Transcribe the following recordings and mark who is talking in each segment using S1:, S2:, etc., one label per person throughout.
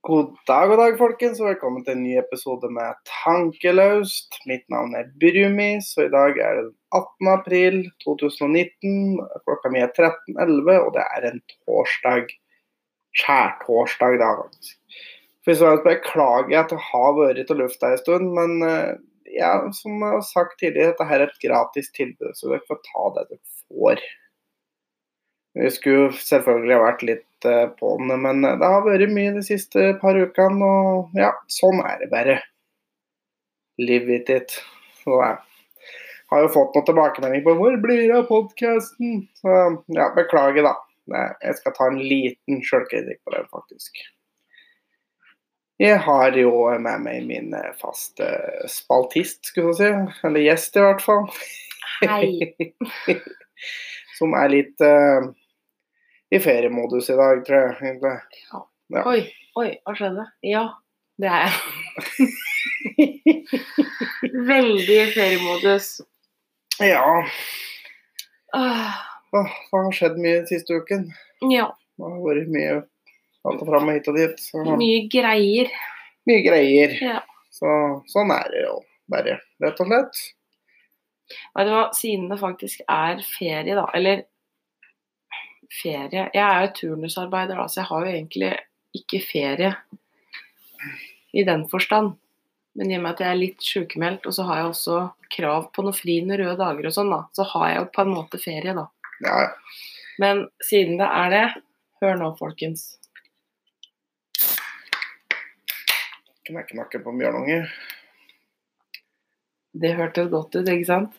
S1: God dag, god dag, folkens, og velkommen til en ny episode med Tankelaust. Mitt navn er Brumis, og i dag er det den 18. april 2019. Klokka mi er 13.11, og det er en torsdag. Skjærtorsdag, da, faktisk. Først og fremst beklager jeg at det har vært til lufta en stund, men eh, ja, som jeg har sagt tidligere, dette her er et gratis tilbud, så dere får ta det dere får. Vi skulle selvfølgelig ha vært litt eh, på den, men det har vært mye de siste par ukene. Og ja, sånn er det bare. Live with it. Så jeg har jo fått noen tilbakemelding på 'Hvor blir det av podkasten?' Så ja, beklager, da. Nei, Jeg skal ta en liten sjølkritikk på den, faktisk. Jeg har jo med meg min eh, faste spaltist, skulle jeg si. Eller gjest, i hvert fall.
S2: Hei.
S1: Som er litt eh, i feriemodus i dag, tror jeg. egentlig. Ja.
S2: Oi, oi, hva skjedde? Ja, det er jeg. Veldig i feriemodus.
S1: Ja,
S2: Åh,
S1: åh, det har skjedd mye den siste uken.
S2: Ah, ja,
S1: Det har vært mye alt og fram og hit og dit. Så
S2: mye greier.
S1: mye greier.
S2: Ja.
S1: Så sånn er det jo bare, rett og slett.
S2: Vet du hva, siden det faktisk er ferie, da, eller ferie Jeg er jo turnusarbeider, da, så jeg har jo egentlig ikke ferie i den forstand. Men i og med at jeg er litt sykemeldt, og så har jeg også krav på noen fri noen røde dager og sånn, da, så har jeg jo på en måte ferie, da.
S1: Ja,
S2: Men siden det er det, hør nå, folkens.
S1: knekke nakken på en bjørnunge.
S2: Det hørtes godt ut, ikke sant?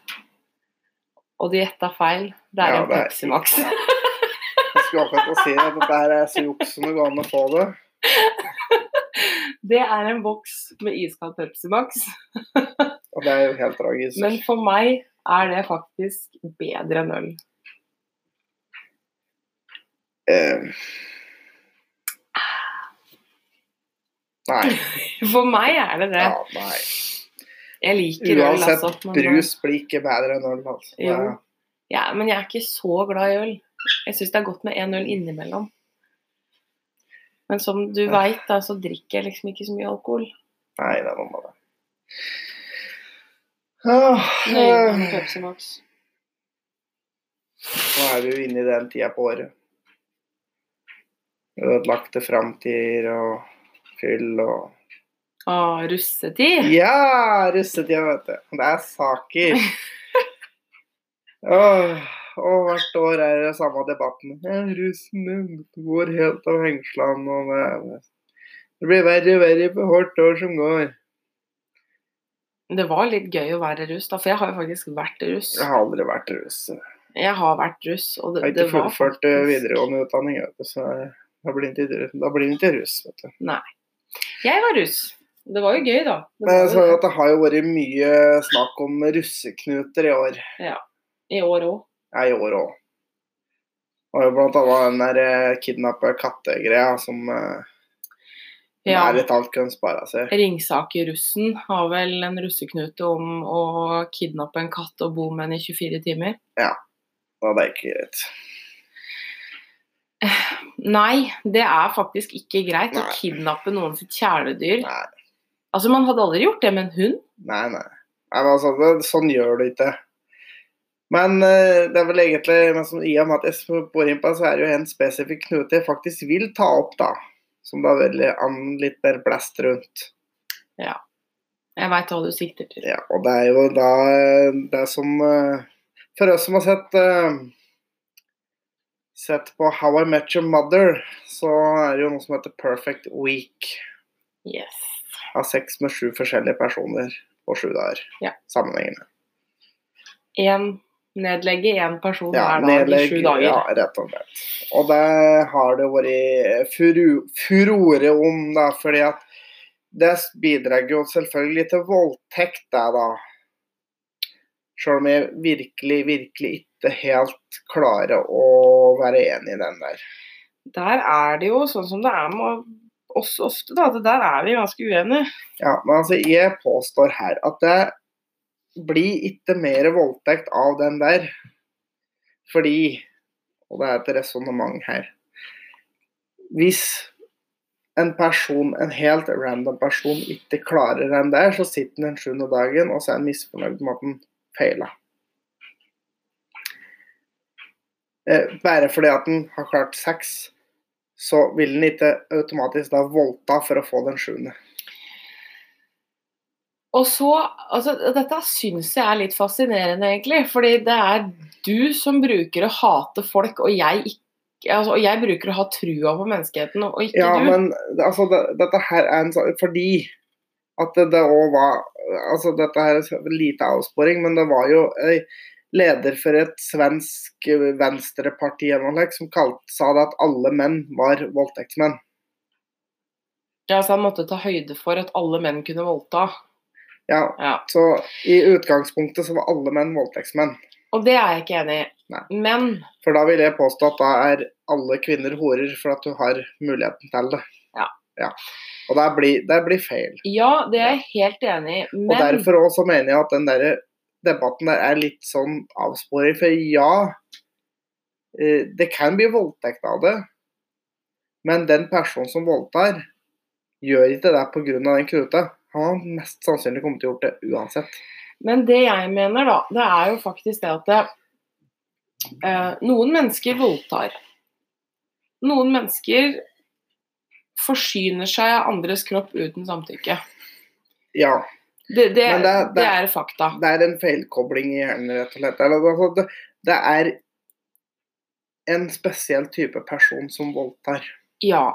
S2: Og de gjetta feil. Det er
S1: Ja,
S2: en
S1: det er-
S2: Pepsi Max.
S1: Jeg skulle akkurat til å si at dette her er så juks som det går an å få det.
S2: Det er en boks med iskald Pepsi Max.
S1: Og det er jo helt tragisk.
S2: Men for meg er det faktisk bedre enn øl.
S1: Eh. Nei.
S2: For meg er det det.
S1: Ja, nei.
S2: Jeg liker øl,
S1: Uansett,
S2: altså. Men,
S1: brus blir ikke bedre enn øl. Altså. Det
S2: Jo.
S1: er-
S2: Ja, men jeg er ikke så glad i øl. Jeg syns det er godt med én øl innimellom. Men som du
S1: Ja.
S2: veit, da, så drikker jeg liksom ikke så mye alkohol.
S1: Nei, det er noe med det. Ah,
S2: Nøye med
S1: eh,
S2: Pepsi Max.
S1: Nå er vi jo inne i den tida på året. Ødelagte framtider og fyll og
S2: Å, russetid!
S1: Ja, russetida, vet du. Det er saker. Åh, og hvert år er det samme debatten. Ja, russen den går helt av hengslene. Og det, det blir verre og verre for hvert år som går.
S2: Det var litt gøy å være russ, da, for jeg har jo faktisk vært russ.
S1: Jeg har aldri vært russ.
S2: Jeg har vært russ, og det,
S1: Jeg har
S2: det
S1: ikke
S2: var
S1: fullført eh,
S2: faktisk-
S1: videregående utdanning, vet du, så da blir det ikke, da blir det ikke russ. Vet du.
S2: Jeg var russ. Det var jo gøy, da. Det
S1: Men jeg sa
S2: var
S1: jo
S2: jo,
S1: at det har jo vært mye snakk om russeknuter i år.
S2: I år òg.
S1: Ja, i år òg. Og jo blant annet den der eh, kidnappa kattegreia som eh,
S2: Ja.
S1: nær et alt kan spare seg.
S2: Ringsaker-russen har vel en russeknute om å kidnappe en katt og bo med den i 24 timer.
S1: Og det er ikke greit.
S2: Nei, det er faktisk ikke greit
S1: Nei.
S2: å kidnappe noen sitt kjæledyr.
S1: Nei,
S2: Altså, man hadde aldri gjort det med en hund.
S1: nei. nei. nei men altså, det, sånn gjør du ikke. Men eh, det er vel egentlig men som, I og med at jeg bor innpå, så er det jo en spesifikk knute jeg faktisk vil ta opp, da. Som det har vært litt- an- litt mer blest rundt.
S2: Jeg veit hva du sikter til.
S1: Ja, og det er jo da eh, det som eh, For oss som har sett eh, Sett på How I Met Your Mother, så er det jo noe som heter Perfect Week.
S2: Yes.
S1: Av sex med sju forskjellige personer på sju dager.
S2: Ja.
S1: Sammenhengende.
S2: En, nedlegge én person
S1: Ja,
S2: hver dag
S1: nedlegg-
S2: i sju dager.
S1: Ja, rett og slett. Og det har det vært eh, furu, furore om, da, fordi at det bidrar jo selvfølgelig til voldtekt, det, da. Sjøl om jeg virkelig, virkelig ikke helt klarer å være enig i den der.
S2: Der er det jo sånn som det er med oss ofte, da. at Der er vi ganske uenige.
S1: Ja, men altså, jeg påstår her at det blir ikke mer voldtekt av den der. Fordi, og det er et resonnement her, hvis en person, en helt random person ikke klarer den der, så sitter den den sjuende dagen og så er den misfornøyd med at den feila. Eh, bare fordi at den har klart seks, så vil den ikke automatisk da voldta for å få den sjuende.
S2: Og så, altså, Dette syns jeg er litt fascinerende, egentlig. Fordi det er du som bruker å hate folk, og jeg, ikke, altså, og jeg bruker å ha trua på menneskeheten, og ikke
S1: Ja,
S2: du.
S1: men det- altså, det, dette her er en sånn Fordi at det, det også var Altså, dette her er så- lite avsporing, men det var jo ei leder for et svensk eh, venstreparti eller noe slikt som kalt, sa det at alle menn var voldtektsmenn.
S2: Ja, så han altså, måtte ta høyde for at alle menn kunne voldta.
S1: Ja,
S2: Ja.
S1: så i utgangspunktet så var alle menn voldtektsmenn.
S2: Og det er jeg ikke enig i.
S1: Nei.
S2: Men
S1: For da vil jeg påstå at da er alle kvinner horer for at du har muligheten til det.
S2: Ja.
S1: Og det blir, det blir feil.
S2: ja, det er jeg helt enig i.
S1: Og
S2: Men
S1: derfor også mener jeg at den der debatten der er litt sånn avsporing. For ja, eh, det kan bli voldtekt av det, men den personen som voldtar, gjør ikke det pga. den kruta. Han har mest sannsynlig kommet til å gjort det uansett.
S2: Men det jeg mener, da, det er jo faktisk det at det, eh, noen mennesker voldtar. Noen mennesker forsyner seg av andres kropp uten samtykke.
S1: Ja,
S2: Det, det,
S1: Men
S2: det,
S1: det- det-
S2: er fakta.
S1: det er en feilkobling i hjernen, rett og slett. Eller, altså, det, det er en spesiell type person som voldtar.
S2: Ja.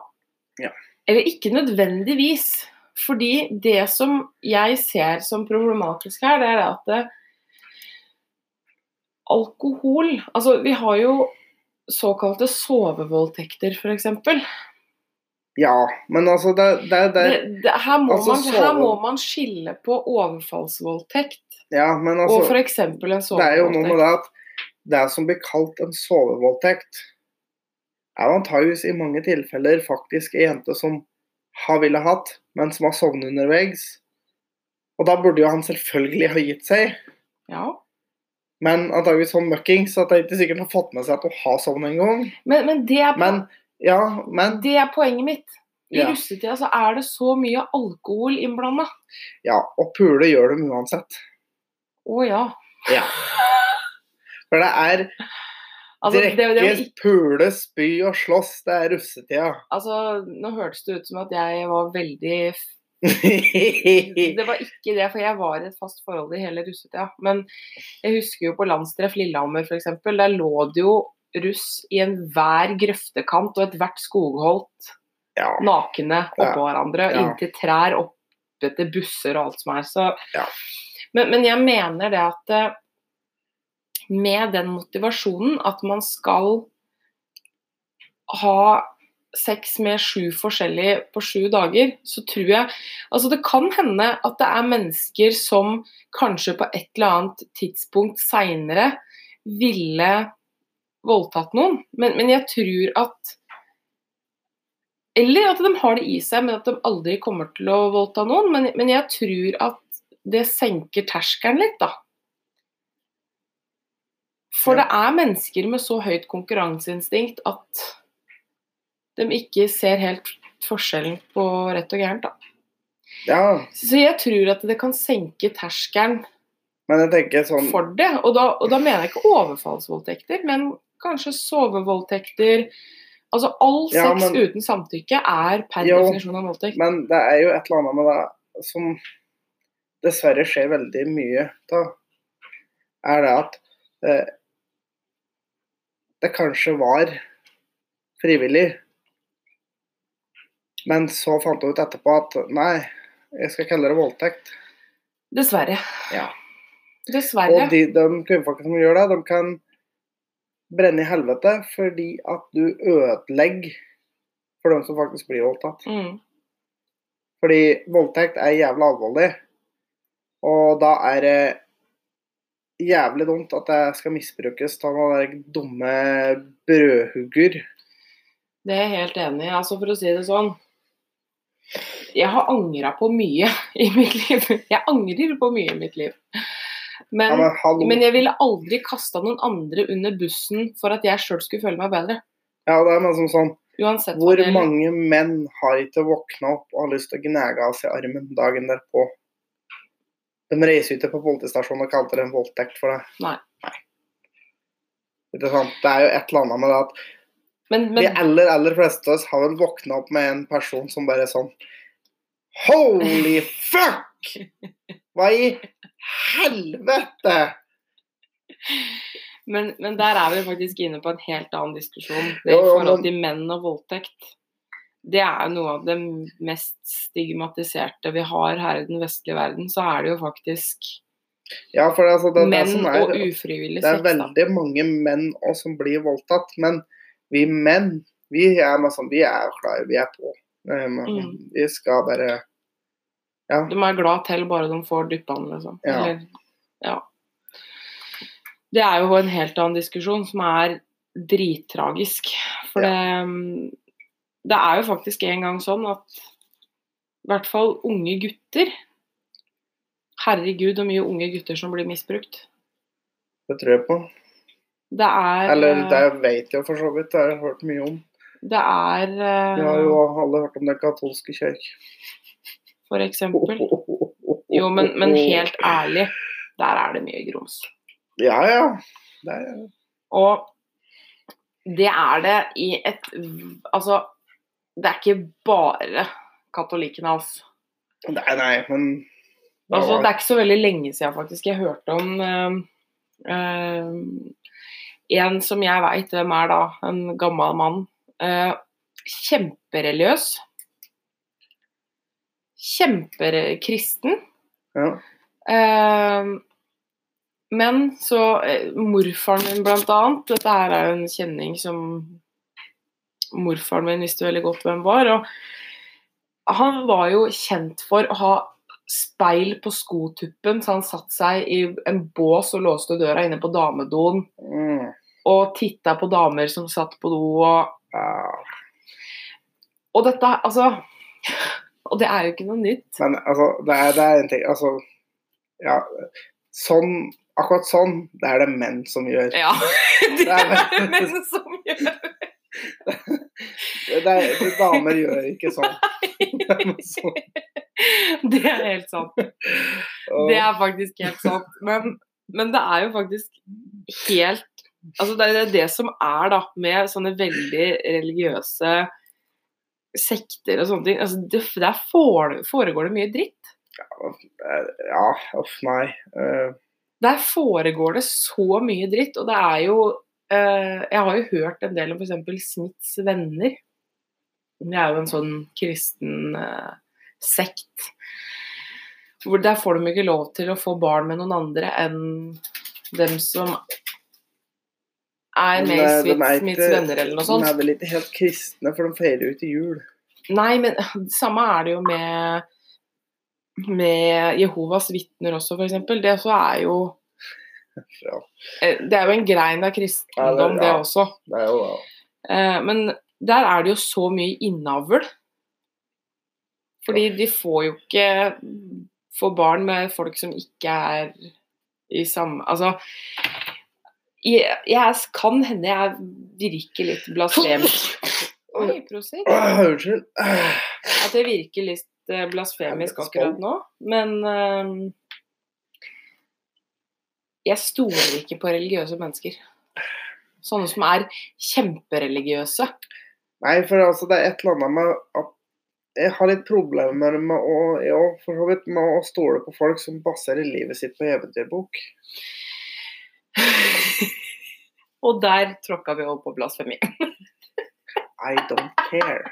S1: Ja.
S2: Eller ikke nødvendigvis. Fordi det som jeg ser som problematisk her, det er det at det, alkohol Altså, vi har jo såkalte sovevoldtekter, f.eks.
S1: Ja, men altså, det, det, det,
S2: det, det, her, må
S1: altså,
S2: man, her
S1: sove-
S2: må man skille på overfallsvoldtekt
S1: ja, men altså,
S2: og f.eks. en
S1: Det er jo noe med
S2: sovevoldtekt.
S1: det at det som blir kalt en sovevoldtekt, er jo antageligvis i mange tilfeller faktisk ei jente som har ville hatt, men som har sovnet underveis. Og da burde jo han selvfølgelig ha gitt seg,
S2: Ja.
S1: men antageligvis sånn møkkings at det er ikke sikkert han har fått med seg at hun har sovnet en gang.
S2: Men, men, det er, po-
S1: Men ja, men
S2: det er poenget mitt. I
S1: Ja.
S2: russetida så er det så mye alkohol innblanda.
S1: ja, og pule gjør dem uansett.
S2: Å ja.
S1: For det er
S2: Altså, det, det, var
S1: drikkes,
S2: ikke-
S1: pule, spy og slåss. Det er russetida.
S2: altså, nå hørtes det ut som at jeg var veldig f- Det var ikke det, for jeg var i et fast forhold i hele russetida. Men jeg husker jo på landstreff Lillehammer f.eks. Der lå det jo russ i enhver grøftekant og ethvert skogholt.
S1: ja.
S2: nakne oppå hverandre,
S1: Ja.
S2: inntil trær, oppetter busser og alt som er. Så.
S1: Ja.
S2: Men, men jeg mener det at eh, med den motivasjonen at man skal ha sex med sju forskjellige på sju dager, så tror jeg Altså, det kan hende at det er mennesker som kanskje på et eller annet tidspunkt seinere ville voldtatt noen, men, men jeg tror at eller at de har det i seg, men at de aldri kommer til å voldta noen. Men, men jeg tror at det senker terskelen litt, da. For
S1: Ja.
S2: det er mennesker med så høyt konkurranseinstinkt at de ikke ser helt forskjellen på rett og gærent, da.
S1: ja.
S2: Så jeg tror at det kan senke terskelen
S1: Men jeg tenker sånn
S2: for det. Og da, og da mener jeg ikke overfallsvoldtekter, men kanskje sovevoldtekter. Altså all sex
S1: Ja, men-
S2: uten samtykke er per
S1: Jo,
S2: definisjon en voldtekt.
S1: Men det er jo et eller annet med det som dessverre skjer veldig mye da, er det at eh, det kanskje var frivillig, men så fant jeg ut etterpå at nei, jeg skal kalle det voldtekt.
S2: Dessverre.
S1: Ja.
S2: Dessverre.
S1: Og de, de kvinnfolkene som gjør det, de kan brenne i helvete fordi at du ødelegger for dem som faktisk blir voldtatt.
S2: Mm.
S1: Fordi voldtekt er jævla alvorlig. Og da er det jævlig dumt at det skal misbrukes av noen der dumme brødhugger.
S2: Det er jeg helt enig i. Altså, for å si det sånn Jeg har angra på mye i mitt liv. Jeg angrer på mye i mitt liv.
S1: Ja,
S2: Men,
S1: men hallo.
S2: men jeg ville aldri kasta noen andre under bussen for at jeg sjøl skulle føle meg bedre.
S1: Ja, det er noe som sånn
S2: Uansett hva
S1: Hvor
S2: det gjelder.
S1: mange menn har ikke våkna opp og har lyst til å gnage av seg armen dagen derpå? De reiser ikke på politistasjonen og kalte det en voldtekt for det.
S2: Nei.
S1: Ikke sant? Det er jo et eller annet med det at
S2: Men,
S1: de
S2: men
S1: aller, aller fleste av oss har vel våkna opp med en person som bare er sånn Holy fuck! Hva i helvete?
S2: Men, men der er vi faktisk inne på en helt annen diskusjon. Det
S1: Jo,
S2: I
S1: jo,
S2: forhold
S1: men-
S2: til menn og voldtekt. Det er jo noe av det mest stigmatiserte vi har her i den vestlige verden. Så er det jo faktisk
S1: Ja, for det, er altså, det, det
S2: menn
S1: som er
S2: og ufrivillig
S1: Det er
S2: sex. da.
S1: veldig mange menn også som blir voldtatt, men vi menn, vi er med sånn, vi er klare, vi er på. Um,
S2: Mm.
S1: Vi skal bare
S2: De er glad til bare de får dyppa den, liksom.
S1: Ja.
S2: Eller, ja. Det er jo en helt annen diskusjon som er drittragisk. For det, det er jo faktisk en gang sånn at i hvert fall unge gutter Herregud, hvor mye unge gutter som blir misbrukt.
S1: Det tror jeg på.
S2: Det er
S1: Eller det vet jeg for så vidt, det har jeg hørt mye om.
S2: det er eh,
S1: Vi har jo alle hørt om den katolske kirke.
S2: For eksempel. Jo, men, men helt ærlig, der er det mye grums.
S1: Ja, ja. Det er,
S2: Og det er det i et Altså, det er ikke bare katolikken hans.
S1: nei, nei, men
S2: Altså, det er ikke så veldig lenge siden faktisk jeg hørte om eh, eh, en som jeg veit hvem er da, en gammel mann. eh, kjempereligiøs. Kjempekristen.
S1: ja.
S2: Eh, men så eh, Morfaren min, blant annet. Dette her er jo en kjenning som morfaren min visste veldig godt hvem var. Og han var jo kjent for å ha speil på skotuppen, så han satte seg i en bås og låste døra inne på damedoen.
S1: Mm.
S2: Og titta på damer som satt på do og
S1: ja.
S2: Og dette, altså Og det er jo ikke noe nytt.
S1: Men altså, det er, det er en ting Altså, ja. Sånn, akkurat sånn, det er det menn som gjør.
S2: Ja. Det
S1: er
S2: er det
S1: veldig-
S2: menn som gjør.
S1: Det er, de damer gjør ikke sånn. Så-
S2: Det er helt sant.
S1: og-
S2: Det er faktisk helt sant. Men, men det er jo faktisk helt Altså det er det som er da med sånne veldig religiøse sekter og sånne ting. Altså det, der fore- foregår det mye dritt.
S1: eh, Ja, uff, nei. Eh,
S2: Der foregår det så mye dritt. Og det er jo eh, Jeg har jo hørt en del om f.eks. Smiths venner. Det er jo en sånn kristen eh, sekt. Hvor der får de ikke lov til å få barn med noen andre enn dem som er
S1: men,
S2: med i
S1: eh, de
S2: Smiths,
S1: er
S2: Smiths
S1: ikke-
S2: venner eller noe sånt.
S1: De er vel ikke helt kristne, for de feirer jo ikke jul.
S2: Nei, men det samme er det jo med, med Jehovas vitner også, f.eks. Det så er jo
S1: Ja.
S2: Eh, Det er jo en grein av
S1: Ja,
S2: kristendom,
S1: det-
S2: det
S1: ja.
S2: også.
S1: Det er jo
S2: Eh, Men der er det jo så mye innavl. Fordi de får jo ikke få barn med folk som ikke er i samme Altså jeg, jeg kan hende jeg virker litt blasfemisk. Oi, prosit.
S1: Åh, Unnskyld.
S2: At jeg virker litt eh, blasfemisk akkurat nå. Men eh, jeg stoler ikke på religiøse mennesker. Sånne som er kjempereligiøse.
S1: Nei, for altså, det er et eller annet med at jeg har litt problemer med å, ja, for så vidt, med å stole på folk som baserer livet sitt på eventyrbok.
S2: Og der tråkka vi over på blasfemi.
S1: I don't care.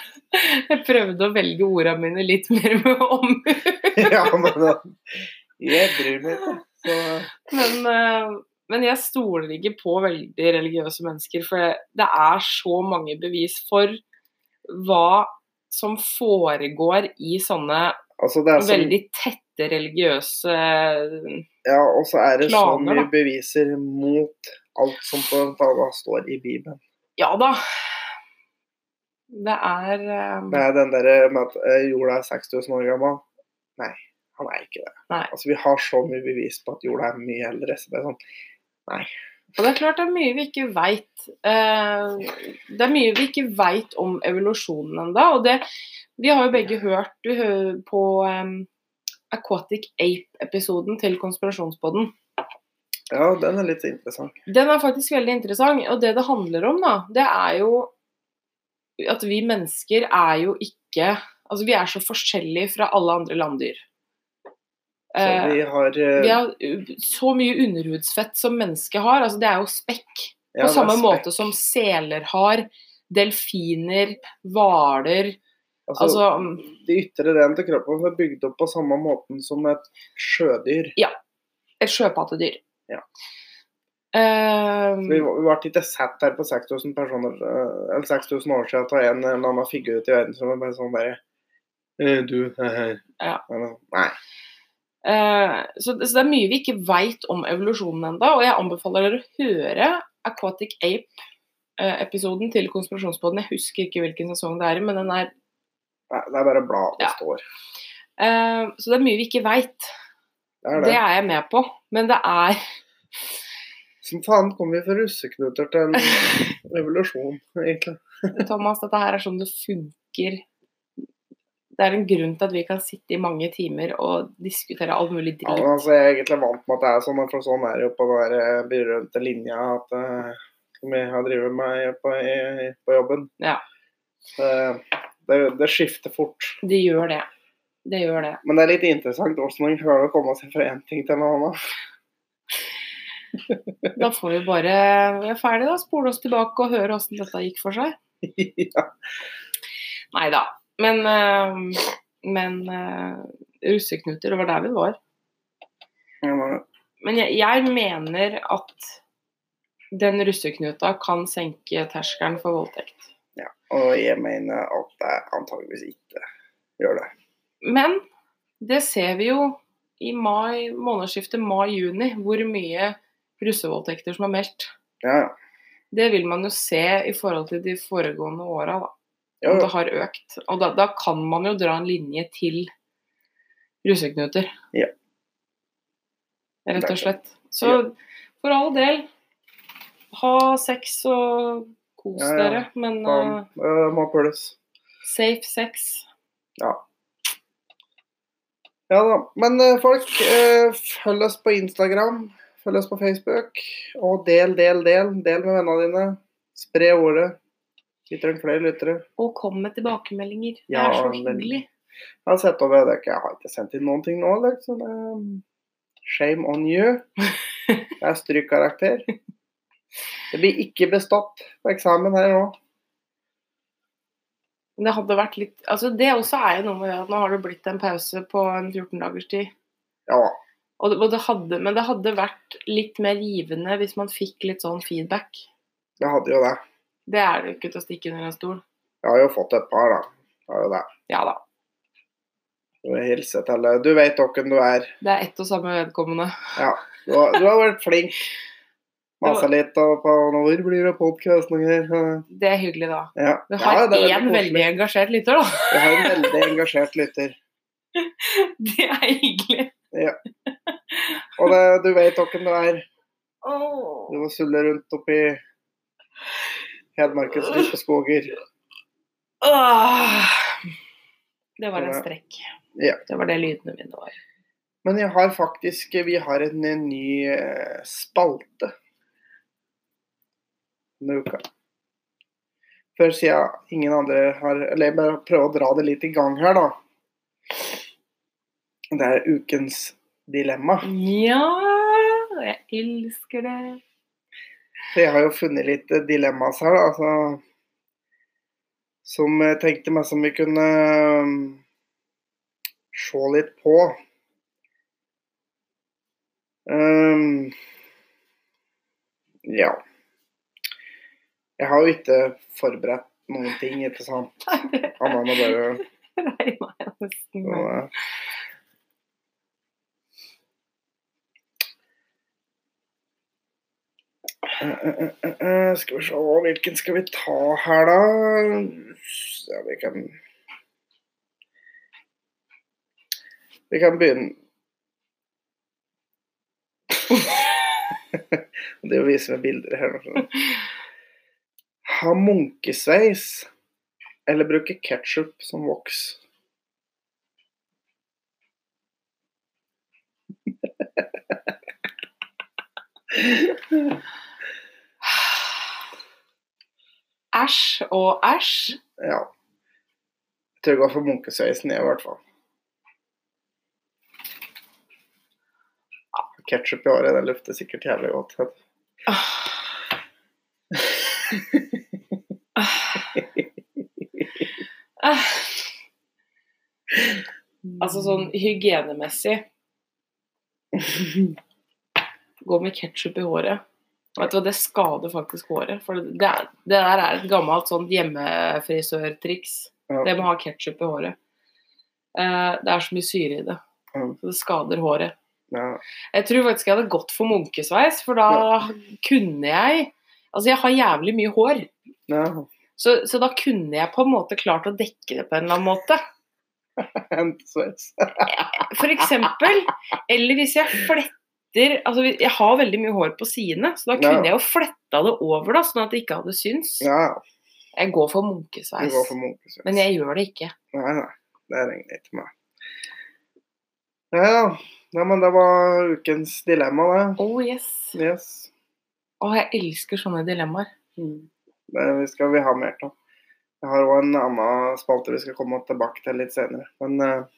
S2: Jeg prøvde å velge orda mine litt mer med omhu,
S1: ja, men da- jeg bryr meg ikke. Så
S2: men, eh, men jeg stoler ikke på veldig religiøse mennesker. For det er så mange bevis for hva som foregår i sånne
S1: altså, det er som-
S2: veldig tette religiøse eh,
S1: Ja, og så er det så
S2: Klaner,
S1: mye
S2: da.
S1: beviser mot alt som på en tale står i Bibelen.
S2: Ja da. Det er eh,
S1: Det er den derre med at eh, jorda er 6000 år gammel. Nei, han er ikke det.
S2: Nei.
S1: Altså, vi har så mye bevis på at jorda er mye eldre. Så det er sånn Nei,
S2: Og det er klart det er mye vi ikke veit. det er mye vi ikke veit om evolusjonen ennå. Og det Vi har jo begge hørt du, hø- på em, Aquatic Ape-episoden til Konspirasjonspodden.
S1: Ja, den er litt interessant.
S2: Den er faktisk veldig interessant, og det det handler om, da, det er jo at vi mennesker er jo ikke Altså, vi er så forskjellige fra alle andre landdyr.
S1: Så
S2: Eh,
S1: vi har eh,
S2: vi har uh, så mye underhudsfett som mennesket har. Altså, det er jo spekk.
S1: ja,
S2: på samme
S1: det er
S2: måte som seler har. Delfiner, hvaler
S1: spekk.
S2: Altså,
S1: Altså, De ytre delene til kroppen er bygd opp på samme måten som et sjødyr.
S2: et sjøpattedyr.
S1: Ja.
S2: Ehm,
S1: Så Vi var- vi ble ikke satt her på 6000, personer, eh, eller 6000 år siden av en eller annen figur ute i verdensrommet bare sånn derre «Eh, Du, hei, hei.
S2: Ja.
S1: Eller, Nei.
S2: eh, så, så det er mye vi ikke veit om evolusjonen ennå, og jeg anbefaler dere å høre Aquatic Ape-episoden til Konspirasjonspodden. Jeg husker ikke hvilken sesong det er i, men den er
S1: Nei, Det er bare blad det
S2: Ja.
S1: står.
S2: eh, Så det er mye vi ikke veit.
S1: Det er
S2: Det
S1: det.
S2: er jeg med på, men det er
S1: Som faen kom vi fra russeknuter til en revolusjon, egentlig.
S2: Thomas, dette her er sånn det funker. Det er en grunn til at vi kan sitte i mange timer og diskutere all mulig
S1: Ja,
S2: dritt.
S1: men altså, jeg er egentlig vant med at det er sånn, for sånn er det jo på den der eh, berømte linja at eh, som jeg har drevet med på, i, på jobben.
S2: Ja.
S1: Så, det, det skifter fort.
S2: Det gjør det. Det gjør det.
S1: Men det er litt interessant hvordan man klarer å komme seg fra én ting til en annen.
S2: Da får vi bare vi er ferdig da, spole oss tilbake og høre åssen dette gikk for seg.
S1: ja.
S2: Nei da. Men, eh, men eh, russeknuter, det var der vi var.
S1: Ja, men-
S2: Men jeg, jeg mener at den russeknuta kan senke terskelen for voldtekt.
S1: Og jeg mener at det antageligvis ikke gjør det.
S2: Men det ser vi jo i mai, månedsskiftet mai-juni, hvor mye russevoldtekter som er meldt.
S1: Ja, ja.
S2: Det vil man jo se i forhold til de foregående åra, da.
S1: Jo,
S2: Om
S1: jo.
S2: det har økt. Og da, da kan man jo dra en linje til russeknuter.
S1: Ja.
S2: Rett og slett. Så
S1: Ja.
S2: for all del, ha sex og kos
S1: Ja, ja.
S2: dere, men
S1: Faen,
S2: eh,
S1: eh, må pules.
S2: safe sex.
S1: Ja da. Men eh, folk, eh, følg oss på Instagram. Følg oss på Facebook. Og del, del, del. Del med vennene dine. Spre ordet. Vi trenger flere lyttere.
S2: Og kom med tilbakemeldinger. Det
S1: Ja,
S2: er så
S1: men-
S2: hyggelig.
S1: Jeg har sett over dere. Jeg har ikke sendt inn noen ting nå. Liksom. Um, Shame on you. Det er strykkarakter. Det blir ikke bestått på eksamen her nå.
S2: Men Det hadde vært litt Altså, det også er jo noe med det at nå har det blitt en pause på en 14 dagers tid.
S1: Ja,
S2: Og det, og det hadde, men det hadde vært litt mer givende hvis man fikk litt sånn feedback.
S1: jeg hadde jo det.
S2: Det er det jo ikke til å stikke under en stol.
S1: Jeg har jo fått et par, da. Jeg har jo det.
S2: Ja da.
S1: Du vil hilse til Du vet hvem du er.
S2: Det er ett og samme vedkommende.
S1: Du har, du har vært flink. Masa litt og på når blir det podkast noen ganger.
S2: Det er hyggelig, da.
S1: Ja.
S2: Vi har
S1: ja, det er
S2: én
S1: veldig
S2: veldig
S1: koselig.
S2: engasjert lytter, da.
S1: Vi har en veldig engasjert lytter.
S2: Det er hyggelig.
S1: Og det, du vet hvem du er.
S2: Åh.
S1: Du må sulle rundt oppi Hedmarkens dype skoger.
S2: Åh. Det var en
S1: Ja.
S2: strekk.
S1: Ja.
S2: Det var det lydene mine var.
S1: Men jeg har faktisk Vi har en eh, ny eh, spalte denne uka. Før siden ingen andre har Eller jeg bare prøver å dra det litt i gang her, da. Det er ukens dilemma.
S2: Ja, jeg elsker det.
S1: Så jeg har jo funnet litt eh, dilemmas her, da. Altså, som jeg tenkte meg som vi kunne um, se litt på. Um, ja. Jeg har jo ikke forberedt noen ting, ikke sant? Annet enn å bare
S2: Nei, nei, nesten.
S1: så,
S2: nei.
S1: eh. Eh, eh, eh, eh, Skal vi se Hvilken skal vi ta her, da? Ja, vi kan Vi kan begynne Det er å vise meg bilder her. nå, skjønner du. Ha munkesveis eller bruke ketsjup som voks.
S2: Æsj og æsj.
S1: Ja. Jeg tror jeg går for munkesveisen, jeg, i hvert fall. Ketsjup i håret, det lukter sikkert jævlig godt.
S2: Ah. Eh, Altså sånn hygienemessig. Gå med ketsjup i håret. Vet du hva, Det skader faktisk håret. For det, er, det der er et gammelt sånt hjemmefrisørtriks.
S1: Ja.
S2: Det med å ha ketsjup i håret. Eh, det er så mye syre i det.
S1: Mm.
S2: Så det skader håret.
S1: Ja.
S2: Jeg tror faktisk jeg hadde gått for munkesveis, for da kunne jeg Altså, jeg har jævlig mye hår.
S1: Ja.
S2: Så, så da kunne jeg på en måte klart å dekke det på en eller annen måte.
S1: Hent sveis.
S2: For eksempel. Eller hvis jeg fletter Altså, jeg har veldig mye hår på sidene, så da kunne
S1: Ja.
S2: jeg jo fletta det over, da, sånn at det ikke hadde syns.
S1: Ja,
S2: Jeg går for
S1: vi
S2: munkesveis.
S1: går for munkesveis.
S2: Men jeg gjør det ikke.
S1: Nei, nei. Det regner ikke med. Ja, ja. Nei, men det var ukens dilemma, det.
S2: Oh yes.
S1: Yes.
S2: Å, jeg elsker sånne dilemmaer.
S1: Det skal vi ha mer av. Jeg har òg en annen spalte vi skal komme tilbake til litt senere. Men eh,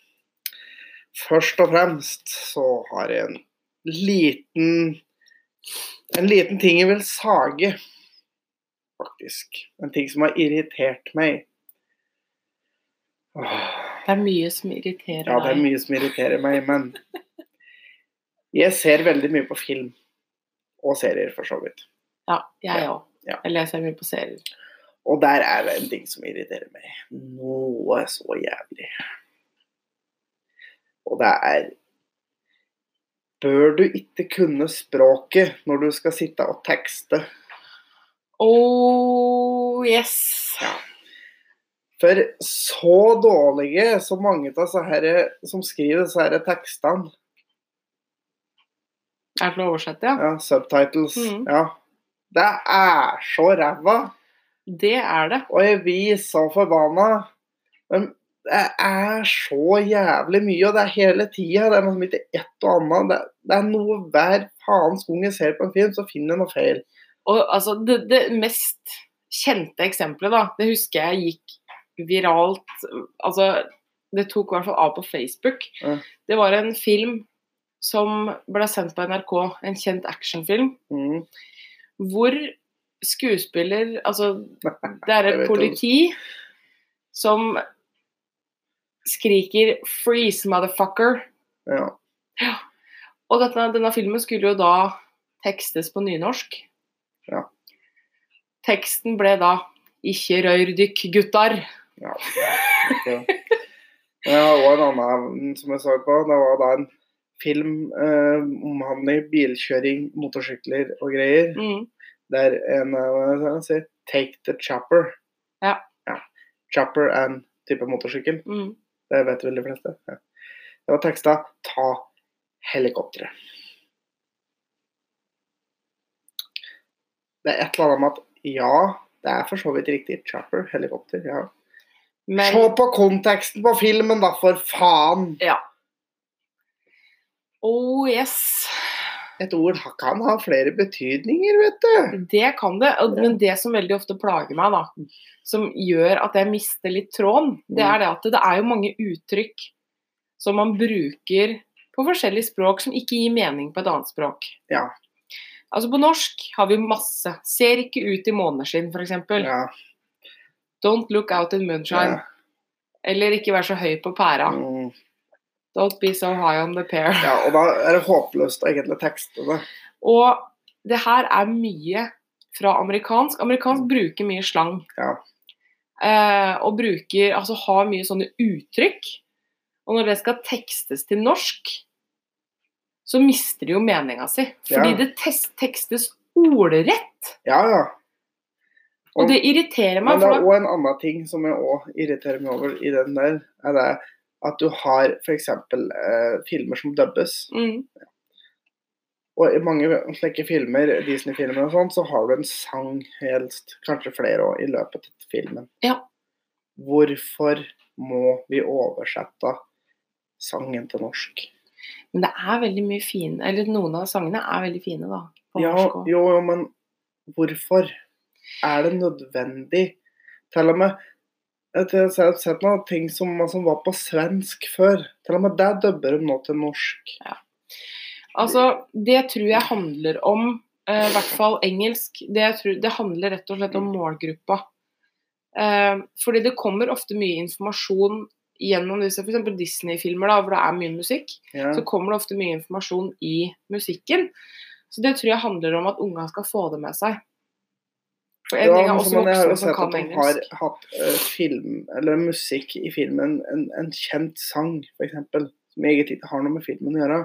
S1: først og fremst så har jeg en liten En liten ting jeg vil sage, faktisk. En ting som har irritert meg. Åh.
S2: Det er mye som irriterer
S1: Ja, det er
S2: deg.
S1: mye som irriterer meg, men jeg ser veldig mye på film. Og serier, for så vidt.
S2: Ja, jeg òg.
S1: Ja.
S2: Jeg leser mye på serier.
S1: Og der er det en ting som irriterer meg. Noe så jævlig. Og det er Bør du ikke kunne språket når du skal sitte og tekste?
S2: Oh yes.
S1: For så dårlige så mange av disse herre som skriver disse herre tekstene
S2: Er det til å oversette, ja?
S1: ja, Subtitles.
S2: Mhm.
S1: Ja. Det er så ræva.
S2: Det er det.
S1: Og jeg blir så forbanna. Men det er så jævlig mye, og det er hele tida. Det er noe som ikke ett og annet. Det, det er noe hver faens gang jeg ser på en film, så finner jeg noe feil.
S2: Og altså, det, det mest kjente eksempelet, da, det husker jeg gikk viralt Altså, det tok i hvert fall av på Facebook.
S1: Ja.
S2: Det var en film som ble sendt på NRK, en kjent actionfilm,
S1: Mm.
S2: hvor skuespiller Altså, det er
S1: Jeg
S2: et
S1: vet
S2: politi som skriker 'freeze, motherfucker'.
S1: Ja.
S2: Og dette, denne filmen skulle jo da tekstes på nynorsk.
S1: Ja.
S2: Teksten ble da 'Ikke rør dykk, guttar'.
S1: ja. Ok. Men Jeg har òg en annen som jeg så på. Det var da en film eh, om han i bilkjøring, motorsykler og greier.
S2: Mm.
S1: Der en eh, hva er det han sier? Take the chopper.
S2: Ja.
S1: ja. Chopper and type motorsykkel.
S2: Mm.
S1: Det vet vel de fleste. Ja. Det var teksta 'Ta helikopteret'. Det er et eller annet med at ja, det er for så vidt riktig. Chopper, helikopter, ja.
S2: Men
S1: Se på konteksten på filmen, da, for faen!
S2: oh yes,
S1: Et ord kan ha flere betydninger, vet du.
S2: det kan det. Og- Men det som veldig ofte plager meg, da, som gjør at jeg mister litt tråden,
S1: Mm.
S2: det er det at det er jo mange uttrykk som man bruker på forskjellige språk som ikke gir mening på et annet språk.
S1: Ja.
S2: Altså på norsk har vi masse. Ser ikke ut i måneskinn, f.eks.
S1: Ja,
S2: Don't look out in
S1: Ja.
S2: moonshine. Eller ikke vær så høy på pæra.
S1: mm.
S2: Don't be so high on the pear.
S1: ja, og da er det håpløst å egentlig tekste det.
S2: Og det her er mye fra amerikansk. Amerikansk bruker mye slang.
S1: Mm. Ja.
S2: Eh, og bruker, altså har mye sånne uttrykk. Og når det skal tekstes til norsk, så mister det jo meninga si. Fordi
S1: Ja.
S2: det tes- tekstes ordrett.
S1: Ja, ja.
S2: Og det irriterer meg.
S1: Men det
S2: For
S1: er
S2: da,
S1: òg en annen ting som jeg òg irriterer meg over i den der, er det at du har f.eks. Eh, filmer som dubbes.
S2: mm,
S1: Og i mange slike filmer, Disney-filmer og sånn, så har du en sang helst, kanskje flere òg, i løpet av filmen.
S2: Ja.
S1: Hvorfor må vi oversette sangen til norsk?
S2: Men det er veldig mye fine Eller noen av sangene er veldig fine, da. På
S1: Ja, jo,
S2: norsk også.
S1: jo, men hvorfor er det nødvendig? Til og med et- jeg har sett noen ting som, som var på svensk før. Til og med det dubber de nå til norsk.
S2: Altså, det tror jeg handler om eh, I hvert fall engelsk. Det, jeg tror, det handler rett og slett om målgruppa. Eh, fordi det kommer ofte mye informasjon gjennom disse f.eks. Disney-filmer, da, hvor det er mye musikk.
S1: Ja.
S2: Så kommer det ofte mye informasjon i musikken. Så det tror jeg handler om at unga skal få det med seg. For en
S1: Ja,
S2: ting er
S1: men
S2: også
S1: som jeg har jo
S2: voksne som
S1: sett at
S2: kan
S1: de har
S2: engelsk.
S1: hatt eh, film, eller musikk i filmen, en, en kjent sang, f.eks., som egentlig ikke har noe med filmen å gjøre.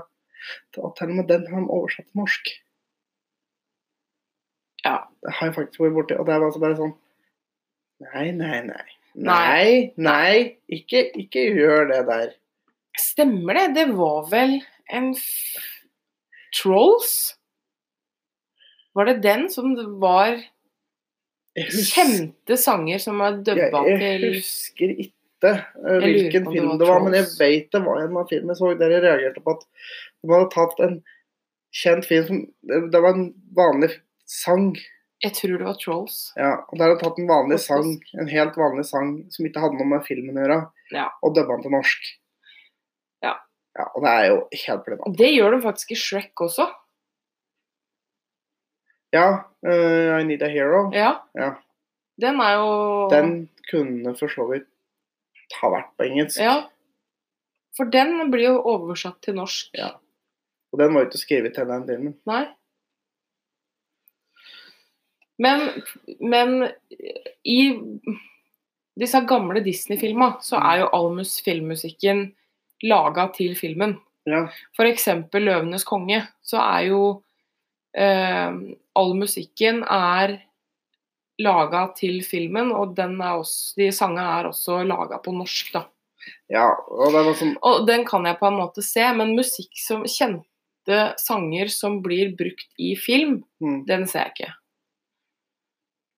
S1: Og til og med den har de oversatt til norsk.
S2: Ja.
S1: Det har jeg faktisk vært borti. Og det er altså bare sånn Nei, nei, nei. Nei,
S2: Nei.
S1: nei, ikke, ikke gjør det der.
S2: Stemmer det? Det var vel en f Trolls? Var det den som det var
S1: Jeg husker,
S2: kjente sanger som er
S1: jeg,
S2: dubba
S1: jeg
S2: til
S1: husker ikke eh,
S2: lurer
S1: hvilken
S2: på om det
S1: film
S2: var
S1: det var, men jeg
S2: Trolls.
S1: vet det var en av filmene jeg så der jeg reagerte på at de hadde tatt en kjent film som Det det var en vanlig sang.
S2: Jeg tror det var Trolls.
S1: Ja, og der hadde de tatt en vanlig
S2: Trolls.
S1: sang, en helt vanlig sang som ikke hadde noe med filmen å gjøre,
S2: Ja.
S1: og dubba den til norsk.
S2: Ja.
S1: ja. Og det er jo helt plenant.
S2: Det gjør de faktisk i Shrek også.
S1: Ja, eh, I Need a Hero.
S2: Ja.
S1: Ja.
S2: Den er jo
S1: Den kunne for så vidt ha vært på engelsk.
S2: Ja. For den blir jo oversatt til norsk.
S1: Ja. Og den var jo ikke skrevet til den filmen.
S2: Nei. Men, men i disse gamle Disney-filma så er jo all mus- filmmusikken laga til filmen.
S1: Ja.
S2: F.eks. 'Løvenes konge' så er jo eh, All musikken er laga til filmen, og den er også, de sangene er også laga på norsk, da.
S1: ja og det var sånn
S2: Og den kan jeg på en måte se, men musikk som kjente sanger som blir brukt i film,
S1: mm,
S2: den ser jeg ikke.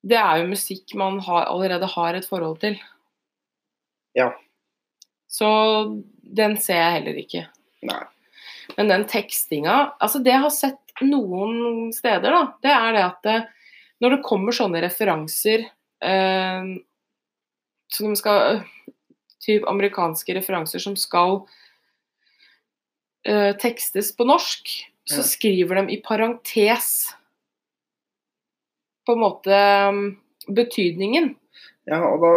S2: Det er jo musikk man har, allerede har et forhold til.
S1: Ja.
S2: Så den ser jeg heller ikke.
S1: Nei.
S2: Men den tekstinga Altså, det jeg har sett noen steder, da, det er det at det, når det kommer sånne referanser eh, som skal eh, Typ amerikanske referanser som skal eh, tekstes på norsk, så
S1: Ja.
S2: skriver de i parentes på en måte eh, betydningen.
S1: Ja, og da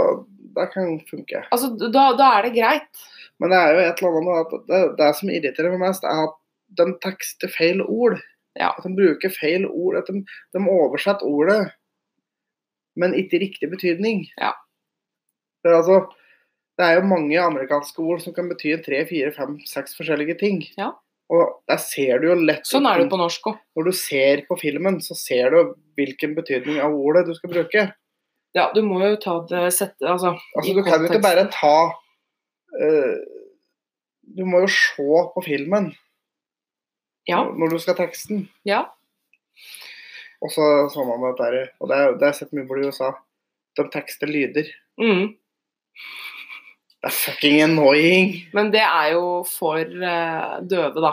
S1: det kan funke.
S2: Altså, da, da er det greit.
S1: Men det er jo et eller annet med at det, det som irriterer meg mest, er at de tekster feil ord.
S2: Ja.
S1: At de bruker feil ord. At de, de oversetter ordet, men ikke i riktig betydning.
S2: Ja.
S1: Det er altså Det er jo mange amerikanske ord som kan bety tre, fire, fem, seks forskjellige ting.
S2: Ja.
S1: Og der ser du jo lett
S2: Sånn er det jo på norsk òg.
S1: Når du ser på filmen, så ser du hvilken betydning av ordet du skal bruke.
S2: Ja, du må jo ta det sette Altså,
S1: Altså,
S2: i
S1: du kan jo ikke
S2: kontekst.
S1: bare ta eh, Du må jo se på filmen
S2: Ja.
S1: når du skal teksten.
S2: Ja.
S1: Og så så man det der Og det, er- det har jeg sett mye på i USA. De tekster lyder.
S2: Mm.
S1: Det er fucking annoying!
S2: Men det er jo for eh, døve, da.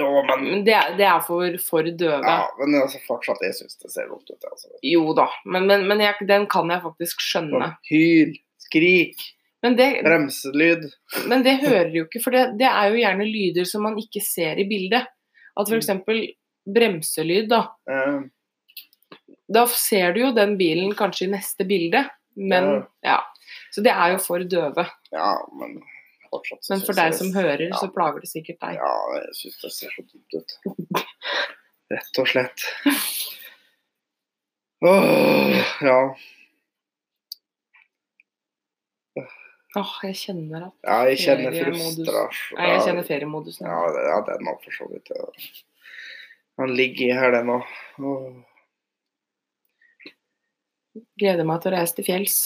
S1: Jo, men
S2: Men det, er- det er for, for døve.
S1: ja, men altså, fortsatt, jeg syns det ser vondt ut. Altså.
S2: Jo da, men, men, men jeg, den kan jeg faktisk skjønne.
S1: Sånn Hyl, skrik,
S2: Men det,
S1: bremselyd.
S2: men det hører du jo ikke, for det, det er jo gjerne lyder som man ikke ser i bildet. At f.eks. bremselyd, da.
S1: eh,
S2: Da ser du jo den bilen kanskje i neste bilde, men
S1: Ja.
S2: ja. Så det er jo for døve.
S1: ja, men fortsatt så
S2: Men for
S1: synes jeg
S2: deg som
S1: det-
S2: hører,
S1: ja.
S2: så plager det sikkert deg.
S1: Ja, jeg syns det ser så dumt ut. Rett og slett. Åh, ja.
S2: Åh, jeg kjenner at
S1: ja, jeg kjenner
S2: Feriemodus.
S1: frustrasjon.
S2: Nei, jeg kjenner feriemodusen.
S1: Ja, det- ja den var for så vidt ja. Han ligger i her, den òg. Åh.
S2: Gleder meg til å reise til fjells.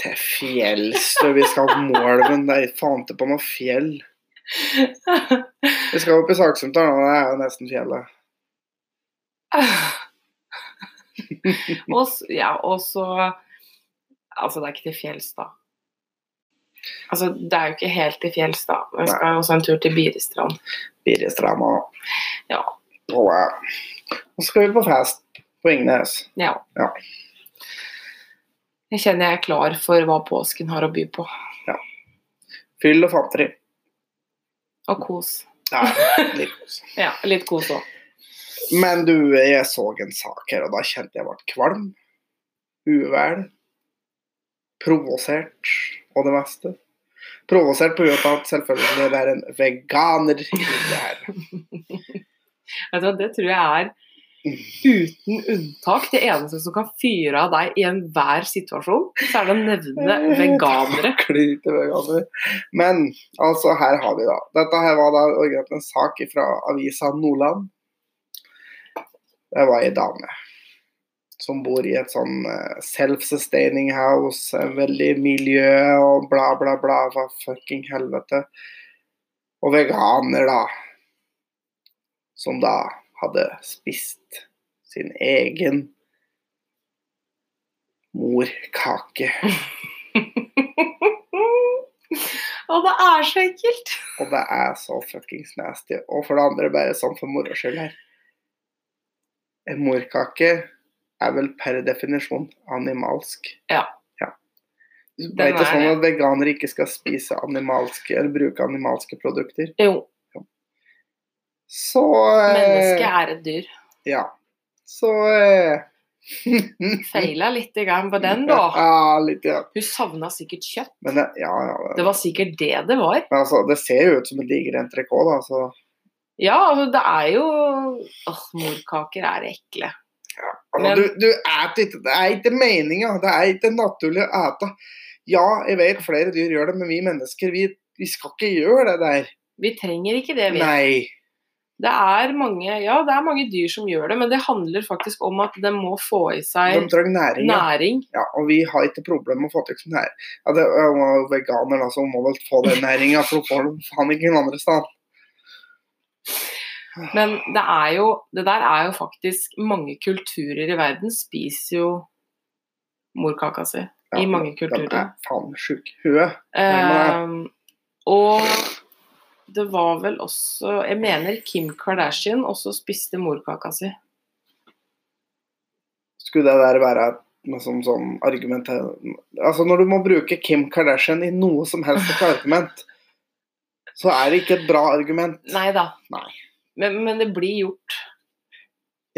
S1: Til fjells, du. Vi skal opp Moelven. Det er faen ikke på noe fjell. Vi skal opp i Saksumtalen, og det er jo nesten fjellet.
S2: og, s- ja, og så Altså, det er ikke til fjells, da. Altså, det er jo ikke helt til fjells, da. Vi skal jo også en tur til Biristrand.
S1: Birrestranda.
S2: Ja.
S1: Og eh, og så skal vi på fest på Ingnes.
S2: Ja.
S1: Ja.
S2: Jeg kjenner jeg er klar for hva påsken har å by på.
S1: Fyll og fatteri.
S2: Og kos.
S1: Ja, litt kos.
S2: Ja, litt kos òg.
S1: Men du, jeg så en sak her, og da kjente jeg ble kvalm. Uvel. Provosert, og det meste. Provosert på grunn av at selvfølgelig det er en veganer i det her.
S2: Vet du hva, Det tror jeg er uten unntak det eneste som kan fyre av deg i enhver situasjon. Så er det å nevne veganere.
S1: Klin til veganer. Men altså, her har vi da. Dette her var da originalt en sak fra avisa Nordland. Det var ei dame som bor i et sånn eh, self-sustaining house, eh, veldig miljø og bla, bla, bla, hva fucking helvete. Og veganer, da. Som da hadde spist sin egen morkake.
S2: Og det er så ekkelt!
S1: Og det er så fuckings nasty. Og for det andre, bare sånn for moro skyld her En morkake er vel per definisjon animalsk.
S2: Ja.
S1: ja. Det
S2: Den
S1: er ikke
S2: er
S1: sånn
S2: det.
S1: at veganere ikke skal spise animalske eller bruke animalske produkter.
S2: Jo,
S1: Så eh,
S2: mennesket er et dyr.
S1: Ja. Så eh,
S2: Feila lite grann på den, da.
S1: Ja, litt, ja.
S2: Hun savna sikkert kjøtt.
S1: Men det, ja, ja.
S2: Det var sikkert det det var.
S1: Men altså, det ser jo ut som en diger entrecôte, da. Så
S2: Ja, altså, det er jo Åh, morkaker er ekle.
S1: Altså,
S2: Men-
S1: du, du et ikke, det er ikke meninga. Det er ikke naturlig å ete. Ja, jeg vet flere dyr gjør det, men vi mennesker vi, vi skal ikke gjøre det der.
S2: Vi trenger ikke det, vi.
S1: Nei.
S2: Det er, mange, ja, det er mange dyr som gjør det, men det handler faktisk om at de må få i
S1: De
S2: seg
S1: trenger næring. Ja.
S2: næring.
S1: Ja, og vi har ikke problem med å få til sånn her. Ja, det er jo veganer, da, som må vel få den næringa, for de får den faen ikke noen andre sted.
S2: Men det, er jo, det der er jo faktisk Mange kulturer i verden spiser jo morkaka si.
S1: Ja,
S2: I mange
S1: De er
S2: kulturer.
S1: faen sjuke i huet.
S2: Ehm, og det var vel også Jeg mener Kim Kardashian også spiste morkaka si.
S1: Skulle det der være noe som, som argument Altså, når du må bruke Kim Kardashian i noe som helst et argument, så er det ikke et bra argument.
S2: Nei da.
S1: Nei.
S2: Men, men det blir gjort.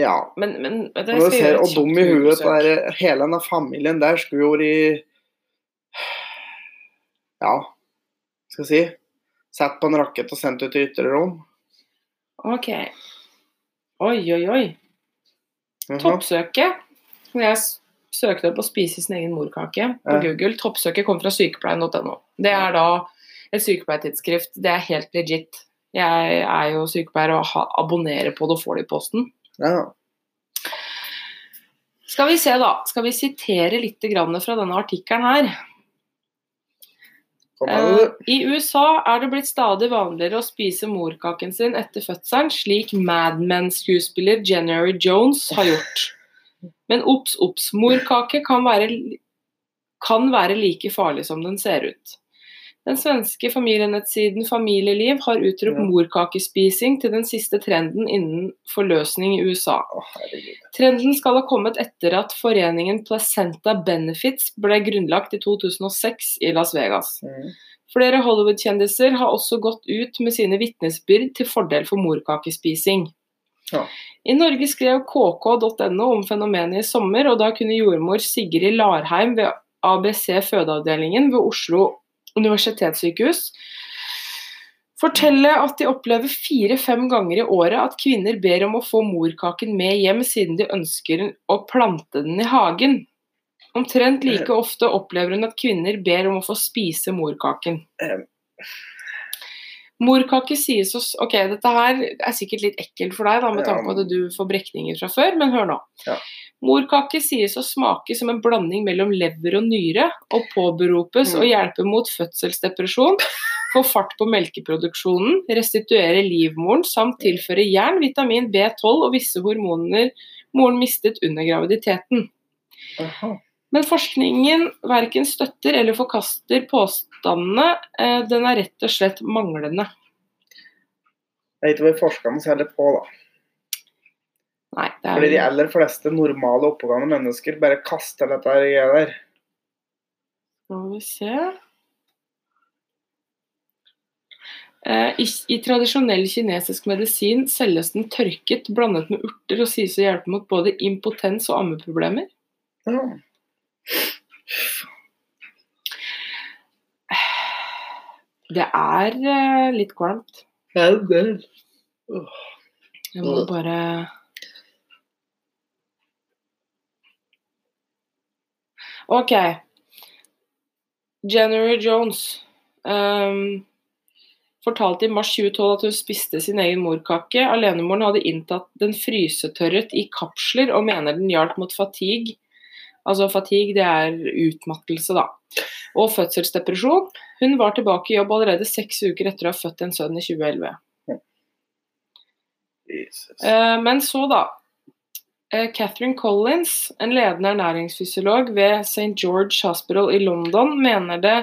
S1: Ja.
S2: Men, men vet du,
S1: Og du
S2: skal
S1: ser
S2: gjøre et
S1: hvor dum i
S2: kjapt
S1: huet
S2: Google-søk.
S1: der, hele denne familien der skulle jo i Ja, skal jeg si Satt på en rakett og sendt ut i ytre rom.
S2: Ok. Oi, oi, oi.
S1: Mhm.
S2: Toppsøket. Når jeg s- søkte opp å spise sin egen morkake på
S1: Ja.
S2: Google, toppsøket kom fra sykepleien.no. Det er da et sykepleiertidsskrift. Det er helt legit. Jeg er jo sykepleier og ha- abonnerer på det og får det i posten.
S1: Ja.
S2: Skal vi se, da. Skal vi sitere litt grann fra denne artikkelen her?
S1: Kom her,
S2: Eh,
S1: du.
S2: I USA er det blitt stadig vanligere å spise morkaken sin etter fødselen, slik Mad Men-skuespiller January Jones har gjort. Men obs, obs. Morkake kan være, kan være like farlig som den ser ut. Den svenske familienettsiden Familieliv har utropt
S1: Ja.
S2: morkakespising til den siste trenden innen forløsning i USA.
S1: Å, herregud.
S2: Trenden skal ha kommet etter at foreningen Placenta Benefits ble grunnlagt i 2006 i Las Vegas.
S1: Mhm.
S2: Flere Hollywood-kjendiser har også gått ut med sine vitnesbyrd til fordel for morkakespising.
S1: Ja.
S2: I Norge skrev kk.no om fenomenet i sommer, og da kunne jordmor Sigrid Larheim ved ABC fødeavdelingen ved Oslo universitetssykehus fortelle at de opplever fire-fem ganger i året at kvinner ber om å få morkaken med hjem siden de ønsker å plante den i hagen. Omtrent like ofte opplever hun at kvinner ber om å få spise morkaken.
S1: Ehm.
S2: Morkake sies å s- Ok, dette her er sikkert litt ekkelt for deg, da, med
S1: Ja,
S2: tanke på
S1: men-
S2: at du får brekninger fra før, men hør nå.
S1: Ja.
S2: Morkake sies å smake som en blanding mellom lever og nyre, og påberopes
S1: Mm.
S2: å hjelpe mot fødselsdepresjon få fart på melkeproduksjonen, restituere livmoren samt tilføre jern, vitamin B12 og visse hormoner moren mistet under graviditeten.
S1: Aha.
S2: Men forskningen verken støtter eller forkaster påstandene. eh, Den er rett og slett manglende.
S1: Jeg vet ikke hvor forskerne selger på, da.
S2: Nei, det er
S1: Fordi de
S2: vel
S1: aller fleste normale oppegående mennesker bare kaster dette her greia der.
S2: Skal vi se Eh, I, I tradisjonell kinesisk medisin selges den tørket, blandet med urter, og sies å hjelpe mot både impotens og ammeproblemer.
S1: Ja.
S2: Det er eh, litt kvalmt.
S1: Det er jo det.
S2: Jeg må
S1: Mm.
S2: bare OK. January Jones ehm, fortalte i mars 2012 at hun spiste sin egen morkake. Alenemoren hadde inntatt den frysetørret i kapsler og mener den hjalp mot fatigue. Altså fatigue, det er utmattelse, da. Og fødselsdepresjon. Hun var tilbake i jobb allerede seks uker etter å ha født en sønn i 2011.
S1: Jesus.
S2: Eh, Men så, da. eh, Catherine Collins, en ledende ernæringsfysiolog ved St. George Hospital i London, mener det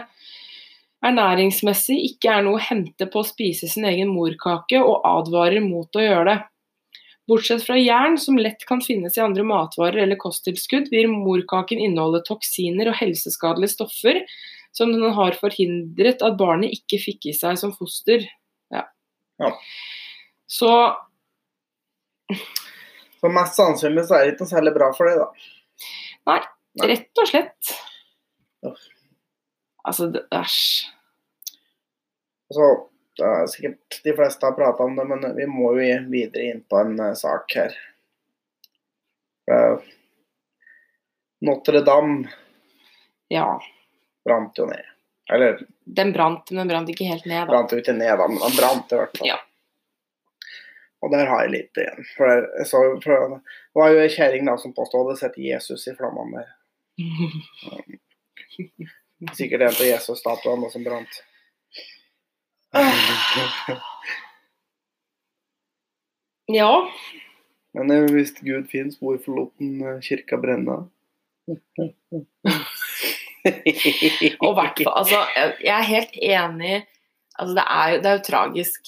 S2: ernæringsmessig ikke er noe å hente på å spise sin egen morkake, og advarer mot å gjøre det. Bortsett fra jern, som lett kan finnes i andre matvarer eller kosttilskudd, vil morkaken inneholde toksiner og helseskadelige stoffer som den har forhindret at barnet ikke fikk i seg som foster. Ja.
S1: Ja.
S2: Så
S1: Så mest sannsynlig så er det ikke noe særlig bra for deg, da. Nei.
S2: Rett og slett.
S1: Uff.
S2: Altså, det- æsj.
S1: Så det er sikkert de fleste har prata om det, men vi må jo videre inn på en eh, sak her. Eh, Notre-Dame
S2: Ja.
S1: brant jo ned. Eller
S2: Den brant, men den brant ikke helt ned, da.
S1: brant jo ikke ned, da, men den brant i hvert fall.
S2: Ja.
S1: Og der har jeg litt igjen. For jeg- jeg så, jo- for det var jo ei kjerring da som påstod hadde sett Jesus i flammene der. Sikkert en av Jesus-statuene som brant.
S2: ja.
S1: Men eh, hvis Gud fins, hvorfor lot han eh, kirka brenne?
S2: Og hvert fall Altså, jeg- jeg er helt enig Altså, det er, jo, det er jo tragisk.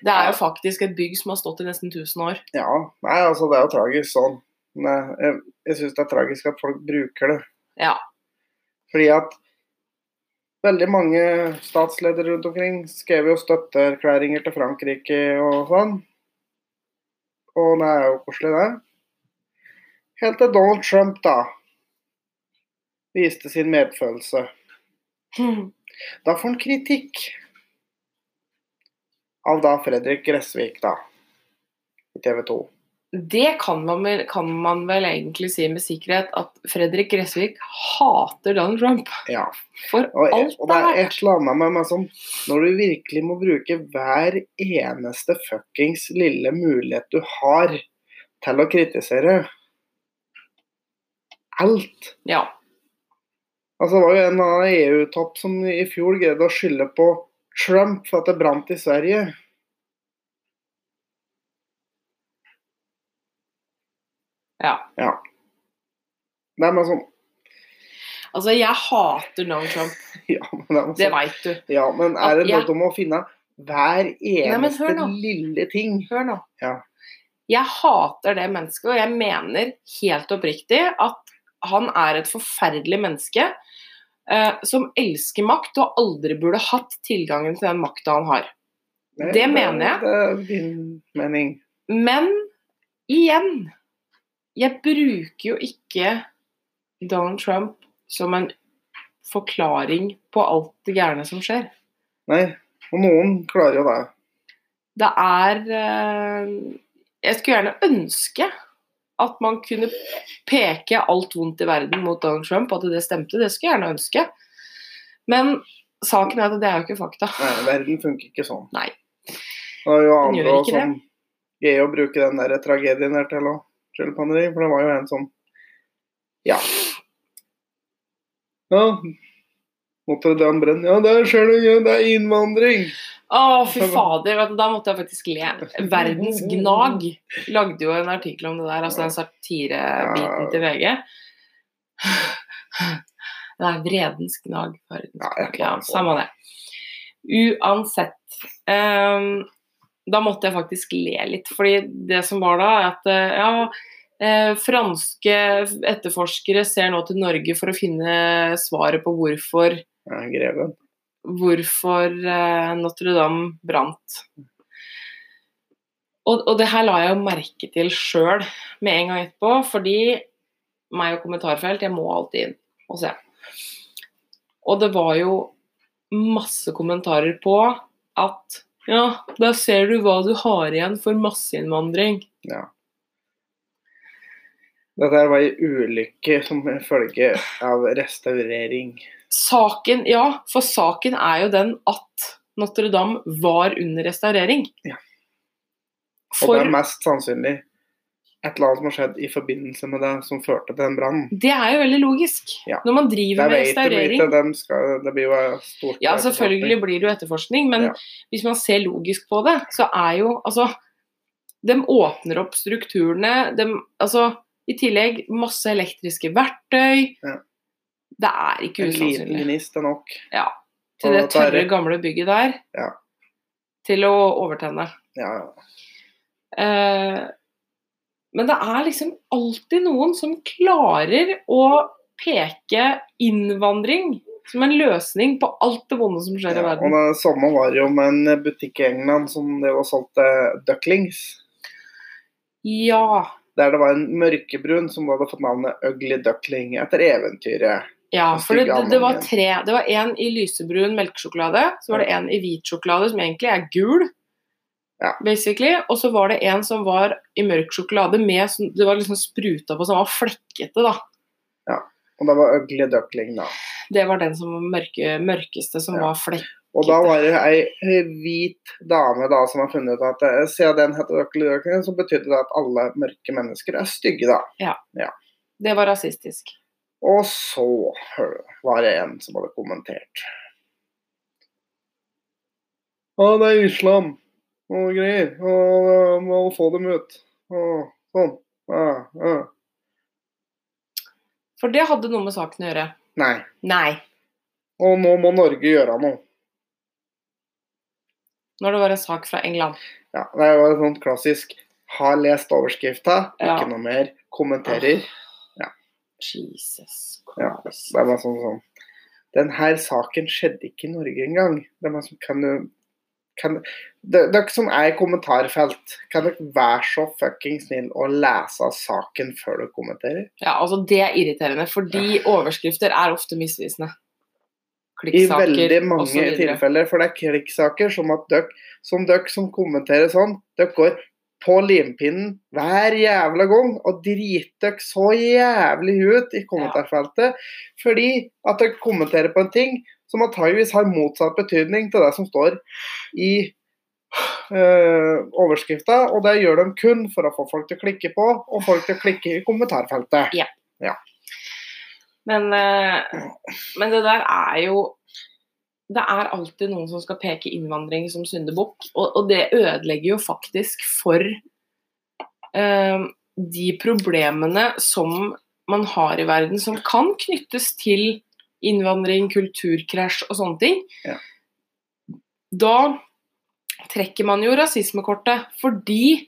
S2: Det er jo faktisk et bygg som har stått i nesten 1000 år.
S1: Ja. Nei, altså, det er jo tragisk sånn. Men jeg jeg syns det er tragisk at folk bruker det.
S2: Ja.
S1: Fordi at veldig mange statsledere rundt omkring skrev jo støtteerklæringer til Frankrike og sånn. Og det er jo koselig, det. Helt til Donald Trump, da, viste sin medfølelse. Hmm. Da får han kritikk av da Fredrik Gressvik, da, i TV 2.
S2: Det kan man, vel- kan man vel egentlig si med sikkerhet at Fredrik Gressvik hater Donald Trump
S1: Ja.
S2: for
S1: Og,
S2: alt
S1: og
S2: det
S1: det
S2: er
S1: er
S2: verdt.
S1: et eller annet med meg som Når du virkelig må bruke hver eneste fuckings lille mulighet du har til å kritisere alt
S2: Ja.
S1: Altså, det var jo en av EU-topp som i fjor greide å skylde på Trump for at det brant i Sverige.
S2: ja.
S1: Det er bare sånn
S2: Altså, jeg hater Donald Trump.
S1: Ja, men, det er bare
S2: Det
S1: sånn,
S2: veit du.
S1: ja, men er det
S2: Ja.
S1: noe du må finne hver
S2: men
S1: eneste
S2: hør nå.
S1: lille ting?
S2: Hør nå.
S1: Ja.
S2: Jeg hater det mennesket, og jeg mener helt oppriktig at han er et forferdelig menneske eh, som elsker makt og aldri burde hatt tilgangen til den makta han har. Det mener jeg.
S1: Det er din mening.
S2: Men igjen, jeg bruker jo ikke Donald Trump som en forklaring på alt det gærne som skjer.
S1: Nei, og noen klarer jo det.
S2: det er eh, Jeg skulle gjerne ønske at man kunne peke alt vondt i verden mot Donald Trump, at det stemte. Det skulle jeg gjerne ønske. Men saken er at det er jo ikke fakta.
S1: Nei, verden funker ikke sånn.
S2: Nei.
S1: Det var jo
S2: Den
S1: andre
S2: gjør
S1: også
S2: ikke det.
S1: som greier å bruke den der tragedien der til å skylde på andre, for det var jo en som Ja. Ja, Notre-Dame brenner. Ja, der skjer det noe! Det er innvandring!
S2: Å, fy fader. vet du, Da måtte jeg faktisk le. Verdens Gnag lagde jo en artikkel om det der, altså den satirebiten til VG. Det er Vredens Gnag. Verdens
S1: Ja, jeg
S2: Gnag.
S1: kan
S2: Ja,
S1: ikke.
S2: samme det. Uansett. ehm, da måtte jeg faktisk le litt, fordi det som var da, er at eh, ja, eh, franske etterforskere ser nå til Norge for å finne svaret på hvorfor
S1: Ja, greven.
S2: hvorfor eh, Notre-Dame brant. Og, og det her la jeg jo merke til sjøl med en gang etterpå, fordi meg og kommentarfelt, jeg må alltid inn og se. Og det var jo masse kommentarer på at ja, da ser du hva du har igjen for masseinnvandring.
S1: Dette her var en ulykke som følge av restaurering.
S2: Saken, ja, for saken er jo den at Notre-Dame var under restaurering.
S1: Ja. Og det
S2: For
S1: er mest sannsynlig et eller annet som har skjedd i forbindelse med det, som førte til den brannen.
S2: Det er jo veldig logisk.
S1: Ja.
S2: Når man driver
S1: Det
S2: med
S1: vet de
S2: restaurering
S1: ikke. De skal, det blir jo et stort
S2: Ja, selvfølgelig blir det jo etterforskning, men
S1: Ja.
S2: hvis man ser logisk på det, så er jo Altså, de åpner opp strukturene. De, altså, i tillegg masse elektriske verktøy.
S1: Ja.
S2: Det er ikke
S1: En liten
S2: usannsynlig.
S1: gnist er nok.
S2: Ja.
S1: Og
S2: Til det
S1: at det er
S2: tørre,
S1: rett-
S2: gamle bygget der.
S1: Ja.
S2: Til å overtenne.
S1: Ja,
S2: Eh, men det er liksom alltid noen som klarer å peke innvandring som en løsning på alt det vonde som
S1: ja.
S2: skjer i
S1: Og
S2: verden.
S1: det samme var jo med en butikk i England som det var solgt eh, ducklings.
S2: Ja.
S1: Der det var en mørkebrun som hadde fått navnet Ugly Duckling etter eventyret.
S2: ja
S1: Den
S2: for det,
S1: stygge
S2: det, det var
S1: andungen.
S2: tre. Det var én i lysebrun melkesjokolade, så var det én i hvit sjokolade, som egentlig er gul,
S1: Ja.
S2: basically, og så var det en som var i mørk sjokolade med sånn- Det var liksom spruta på, så den var flekkete, da.
S1: Og det var Ugly Duckling, da.
S2: Det var den som var mørke, mørkeste, som
S1: Ja.
S2: var flekk...
S1: Og da var det ei ei hvit dame da som har funnet ut at eh, siden den heter Ugly Duckling, så betydde det at alle mørke mennesker er stygge, da.
S2: Det var rasistisk.
S1: Og så hø- var det en som hadde kommentert. Å, det er islam og greier. Og eh, må få dem ut. Og sånn. Ja, ja.
S2: For det hadde noe med saken å gjøre.
S1: Nei.
S2: Nei.
S1: Og nå må Norge gjøre noe.
S2: Når det var en sak fra England.
S1: Ja, det er jo et sånt klassisk har lest overskrifta,
S2: Ja.
S1: ikke noe mer. Kommenterer.
S2: Jesus
S1: Ja,
S2: Christ.
S1: Det er bare sånn sånn Den her saken skjedde ikke i Norge engang. Det er bare sånn Kan du kan, det, det er ikke som er i kommentarfelt. Kan dere være så fucking snill å lese av saken før du kommenterer?
S2: Ja, altså det er irriterende, fordi overskrifter er ofte misvisende.
S1: I
S2: Klikksaker
S1: veldig
S2: og så
S1: mange
S2: videre.
S1: tilfeller. For det er klikksaker som at dere som, dere som kommenterer sånn, dere går på limpinnen hver jævla gang og driter dere så jævlig ut i kommentarfeltet fordi at dere kommenterer på en ting som antageligvis har motsatt betydning til det som står i øh, overskrifta, og det gjør de kun for å få folk til å klikke på, og folk til å klikke i kommentarfeltet.
S2: Men, eh, men det der er jo Det er alltid noen som skal peke innvandring som syndebukk, og, og det ødelegger jo faktisk for eh, de problemene som man har i verden, som kan knyttes til innvandring, kulturkrasj og sånne ting.
S1: Ja.
S2: Da trekker man jo rasismekortet, fordi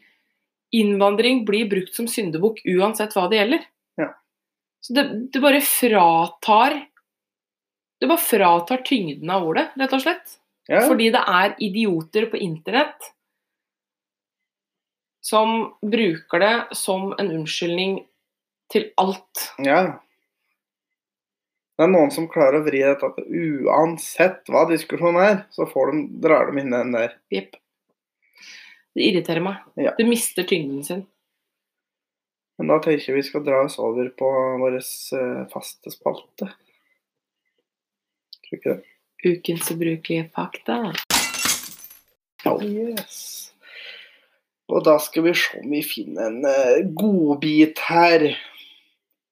S2: innvandring blir brukt som syndebukk uansett hva det gjelder. Så det, det bare fratar Det bare fratar tyngden av ordet, rett og slett.
S1: Ja.
S2: Fordi det er idioter på internett som bruker det som en unnskyldning til alt.
S1: Ja. Det er noen som klarer å vri dette at uansett hva diskusjonen er, så får de, drar de inn den der.
S2: Jepp. Det irriterer meg.
S1: Ja.
S2: Det mister tyngden sin.
S1: Men da tenker jeg vi skal dra oss over på vår eh, faste spalte. Tror ikke det.
S2: Ukens ubrukelige fakta.
S1: Yes. Og da skal vi se om vi finner en eh, godbit her.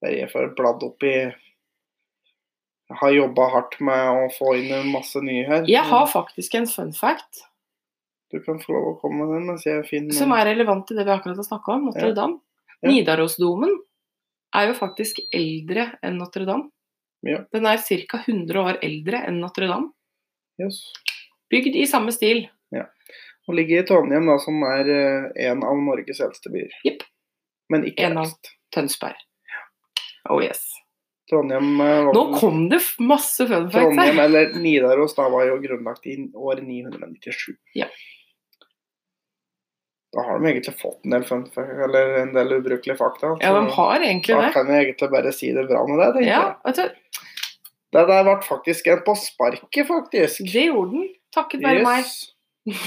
S1: Der jeg får bladd opp i Jeg har jobba hardt med å få inn en masse nye her.
S2: Jeg har faktisk en fun fact
S1: Du kan få lov å komme med den mens jeg finner
S2: som er relevant til det vi akkurat har snakka om, Notre-Dame.
S1: Ja.
S2: Nidarosdomen er jo faktisk eldre enn Notre-Dame.
S1: Ja.
S2: Den er ca. 100 år eldre enn Notre-Dame.
S1: Yes.
S2: Bygd i samme stil.
S1: Og ligger i Trondheim, da, som er eh, en av Norges eldste byer.
S2: Jepp.
S1: Men ikke
S2: En av.
S1: eldst.
S2: Tønsberg. Oh yes.
S1: Trondheim, eh, var
S2: Nå
S1: vel-
S2: kom det f- masse fun facts
S1: Trondheim,
S2: her.
S1: eller Nidaros, da var jo grunnlagt i år 997.
S2: Ja.
S1: Da har de egentlig fått en del fun fact, eller en del ubrukelige fakta.
S2: Ja,
S1: så
S2: de har egentlig
S1: Da
S2: det.
S1: kan jeg egentlig bare si det bra med det, tenker
S2: Ja,
S1: jeg.
S2: vet du,
S1: Det der ble faktisk en på sparket, faktisk.
S2: det gjorde den. Takket være meg.
S1: Yes.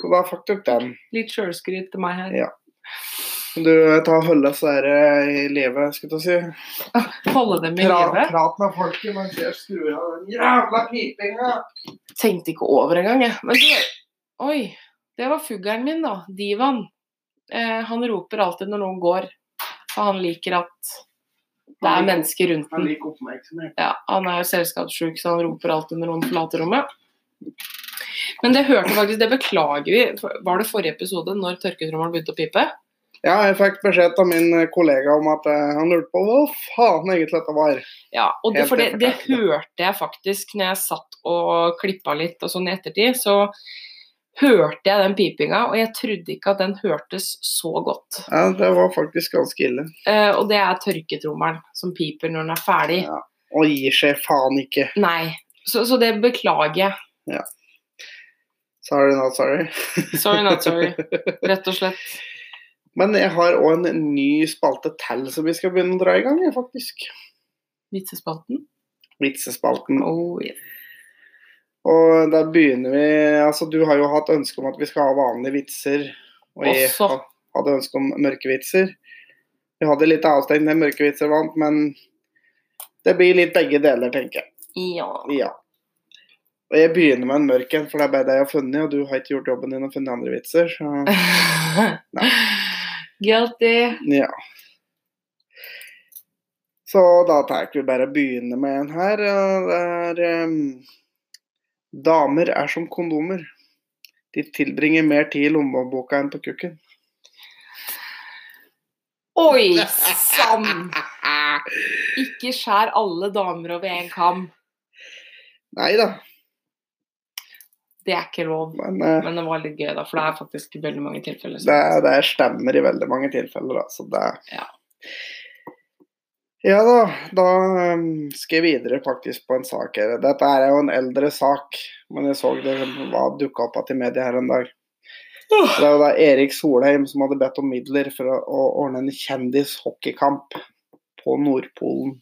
S1: Så da fikk du den.
S2: Litt sjølskryt til meg her.
S1: Ja. Du tar og holder så her eh, i live, skulle jeg til å si.
S2: Holde dem i
S1: Pra-
S2: live.
S1: prat med folket mens jeg skrur av den jævla pipinga.
S2: Tenkte ikke over engang, jeg. Men du, oi. Det var fuglen min, da. Divan. Eh, han roper alltid når noen går. For han liker at det er mennesker rundt
S1: Han
S2: den.
S1: liker oppmerksomhet.
S2: Ja, han er jo selskapssjuk, så han roper alltid når noen forlater rommet. Men det hørte faktisk, det beklager vi. Var det forrige episode når tørketrommelen begynte å pipe?
S1: Ja, jeg fikk beskjed av min kollega om at eh, han lurte på hva faen egentlig dette var.
S2: Ja, og det,
S1: Helt
S2: for det, det
S1: forferdelig.
S2: hørte jeg faktisk når jeg satt og klippa litt og sånn i ettertid. Så hørte jeg den pipinga, og jeg trodde ikke at den hørtes så godt.
S1: Ja, det var faktisk ganske ille.
S2: Eh, og det er tørketrommelen som piper når den er ferdig.
S1: Ja. Og gir seg faen ikke.
S2: Nei. Så, så det beklager jeg.
S1: Sorry, not sorry.
S2: Sorry, not sorry. Rett og slett.
S1: Men jeg har òg en ny spalte til som vi skal begynne å dra i gang, jeg, faktisk.
S2: Vitsespalten.
S1: Vitsespalten.
S2: Oh, yes.
S1: Og da begynner vi Altså, du har jo hatt ønske om at vi skal ha vanlige vitser. Og jeg
S2: Også.
S1: ha- hadde ønske om mørkevitser. Vi hadde litt avstengt med mørkevitser vant, men det blir litt begge deler, tenker jeg.
S2: Ja.
S1: Ja. Og jeg begynner med en mørk en, for det er bare det jeg har funnet, og du har ikke gjort jobben din og funnet andre vitser, så
S2: Guilty.
S1: ja. Så da tar vi bare å begynne med en her. og Det er ehm, Damer er som kondomer. De tilbringer mer tid i lommeboka enn på kukken.
S2: Oi sann! Ikke skjær alle damer over én kam.
S1: Nei da,
S2: Det er ikke lov.
S1: men eh,
S2: Men det var litt gøy, da, for det er faktisk i veldig mange tilfeller.
S1: det,
S2: sånn.
S1: det stemmer i veldig mange tilfeller, da. Så det
S2: Ja.
S1: Ja da, da ehm, skal jeg videre faktisk på en sak her. Dette er jo en eldre sak, men jeg så det var dukka opp igjen i media her en dag. Det er jo da Erik Solheim som hadde bedt om midler for å, å ordne en kjendishockeykamp på Nordpolen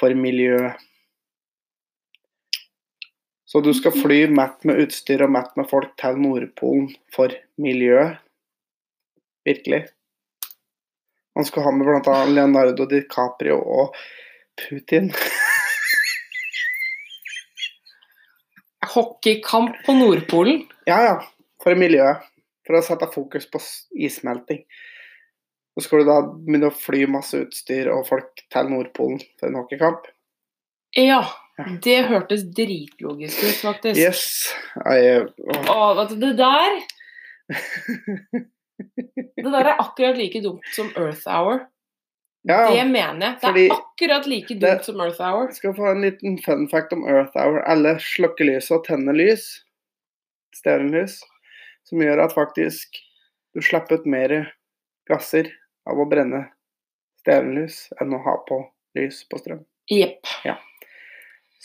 S1: for miljøet. Så du skal fly mett med utstyr og mett med folk til Nordpolen for miljøet. Virkelig. Han skulle ha med bl.a. Leonardo DiCaprio og Putin.
S2: Hockeykamp på Nordpolen.
S1: Ja, ja. For miljøet. For å sette fokus på s- issmelting. Så skal du da begynne å fly masse utstyr og folk til Nordpolen for en hockeykamp.
S2: Ja. Det hørtes dritlogisk ut, faktisk.
S1: Yes. eh, Jeg, åh,
S2: Å, vet du, det der Det der er akkurat like dumt som Earth Hour. Det
S1: ja.
S2: mener jeg. Det
S1: Fordi-
S2: er akkurat like dumt
S1: Det-
S2: som Earth Hour.
S1: Jeg skal få en liten fun fact om Earth Hour. Alle slukker lyset og tenner lys. Stearinlys. Som gjør at faktisk du slipper ut mer gasser av å brenne stearinlys enn å ha på lys på strøm.
S2: Jepp.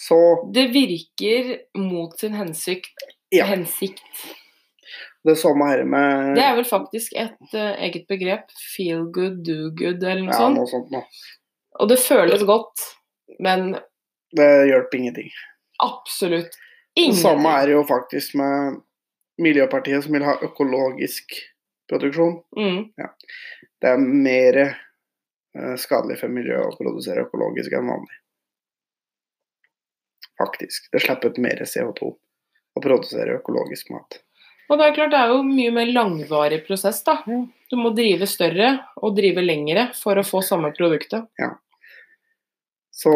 S1: Så
S2: Det virker mot sin hensikt.
S1: Ja.
S2: hensikt.
S1: det samme her med
S2: Det er vel faktisk et eh, eget begrep. Feel good, do good, eller noe
S1: ja,
S2: sånt.
S1: noe sånt nå.
S2: Og det føles godt, men
S1: Det hjelper ingenting.
S2: absolutt
S1: Det samme
S2: ingenting.
S1: er det jo faktisk med Miljøpartiet som vil ha økologisk produksjon.
S2: Mm.
S1: Det er mer eh, skadelig for miljøet å produsere økologisk enn vanlig. Faktisk. Det slipper ut mer CO2 å produsere økologisk mat.
S2: Og det er klart, det er jo mye mer langvarig prosess, da.
S1: Ja.
S2: Du må drive større og drive lengre for å få samme produktet.
S1: Så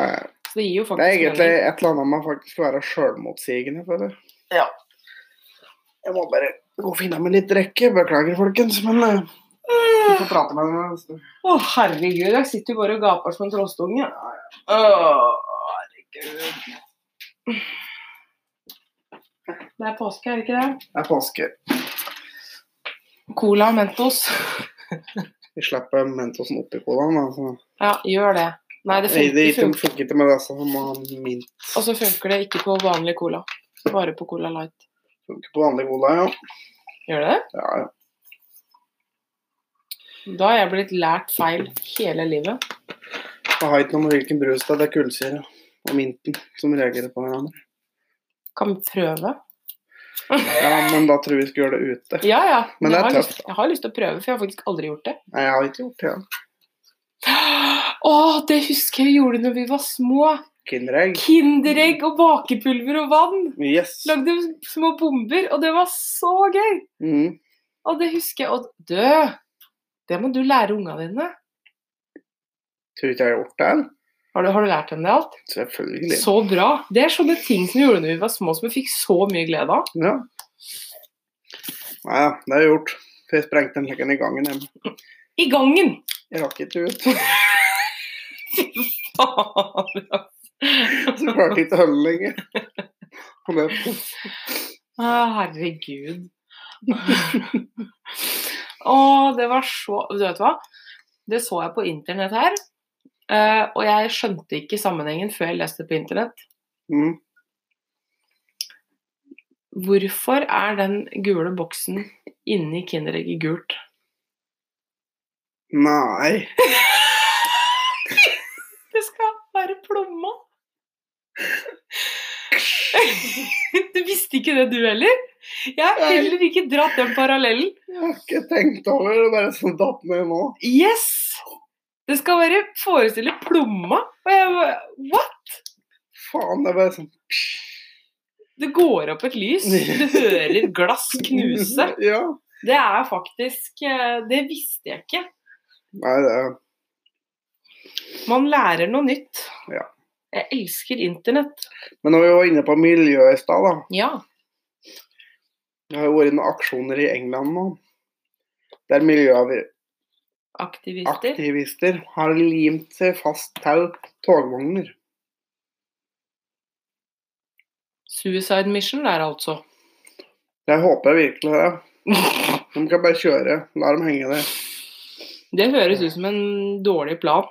S1: eh,
S2: Så det gir jo
S1: det er
S2: faktisk
S1: egentlig
S2: mening.
S1: et eller annet man faktisk skal være sjølmotsigende for.
S2: Ja.
S1: Jeg må bare gå og finne meg litt drikke. Beklager, folkens, men eh, vi får prate med dem. altså.
S2: Å, herregud, jeg sitter jo bare og gaper som en trollstunge. Å, herregud. Det er påske, er det ikke det?
S1: Det er påske.
S2: Cola og Mentos.
S1: Vi slipper Mentosen oppi colaen. Altså.
S2: Ja, gjør det. Nei, det
S1: Nei,
S2: funker,
S1: det
S2: det
S1: ikke
S2: funker.
S1: funker ikke med det som man min
S2: Og så funker det ikke på vanlig cola. Bare på Cola Light.
S1: funker på vanlig cola, ja.
S2: Gjør det det?
S1: ja, ja.
S2: Da har jeg blitt lært feil hele livet.
S1: Det har ikke noe med hvilken brus det er, det er kullsyre og minten som reagerer på hverandre.
S2: Kan vi prøve?
S1: Ja, men da tror jeg vi skal gjøre det ute.
S2: Ja, ja.
S1: Men det
S2: jeg
S1: er
S2: har
S1: tøft,
S2: Lyst, jeg har lyst til å prøve, for jeg har faktisk aldri gjort det.
S1: Nei, jeg har ikke gjort det. ja.
S2: Å, det husker jeg vi gjorde når vi var små.
S1: Kinderegg.
S2: Kinderegg og bakepulver og vann.
S1: Yes.
S2: Lagde små bomber, og det var så gøy.
S1: Mm.
S2: Og det husker jeg. Og dø! Det må du lære unga dine.
S1: Tror ikke jeg har gjort det. eller?
S2: Har du, har du lært dem det alt?
S1: Selvfølgelig.
S2: Så bra. Det er sånne ting som vi gjorde når vi var små, som vi fikk så mye glede av.
S1: Ja. Nei, ja, det er gjort. For Jeg sprengte den lekkeren i gangen hjemme.
S2: I gangen!
S1: Jeg rakk ikke ut. Så
S2: Å,
S1: klarte jeg ikke å holde lenger. Og det,
S2: herregud. Å, det var så Du vet hva? Det så jeg på internett her. eh, og jeg skjønte ikke sammenhengen før jeg leste det på internett.
S1: mm.
S2: Hvorfor er den gule boksen inni Kinderegget gult?
S1: Nei.
S2: Det skal være plomma! Du visste ikke det du heller? Jeg har
S1: Nei.
S2: heller ikke dratt den parallellen.
S1: Jeg har ikke tenkt over det. Det er bare sånn datt ned nå.
S2: Yes! Det skal være forestille plomma. Og jeg bare What?
S1: Faen, det er bare sånn
S2: Det går opp et lys. Du hører glass knuse.
S1: Ja.
S2: Det er faktisk eh, Det visste jeg ikke.
S1: Nei, det er
S2: Man lærer noe nytt.
S1: Ja.
S2: Jeg elsker internett.
S1: Men når vi var inne på miljøet i stad, da.
S2: Ja.
S1: Det har jo vært noen aksjoner i England nå. Der miljøaktivister
S2: Aktivister.
S1: har limt seg fast til togvogner.
S2: Suicide Mission der, altså.
S1: Jeg håper virkelig det. De kan bare kjøre. La dem henge der.
S2: Det høres ut som en dårlig plan.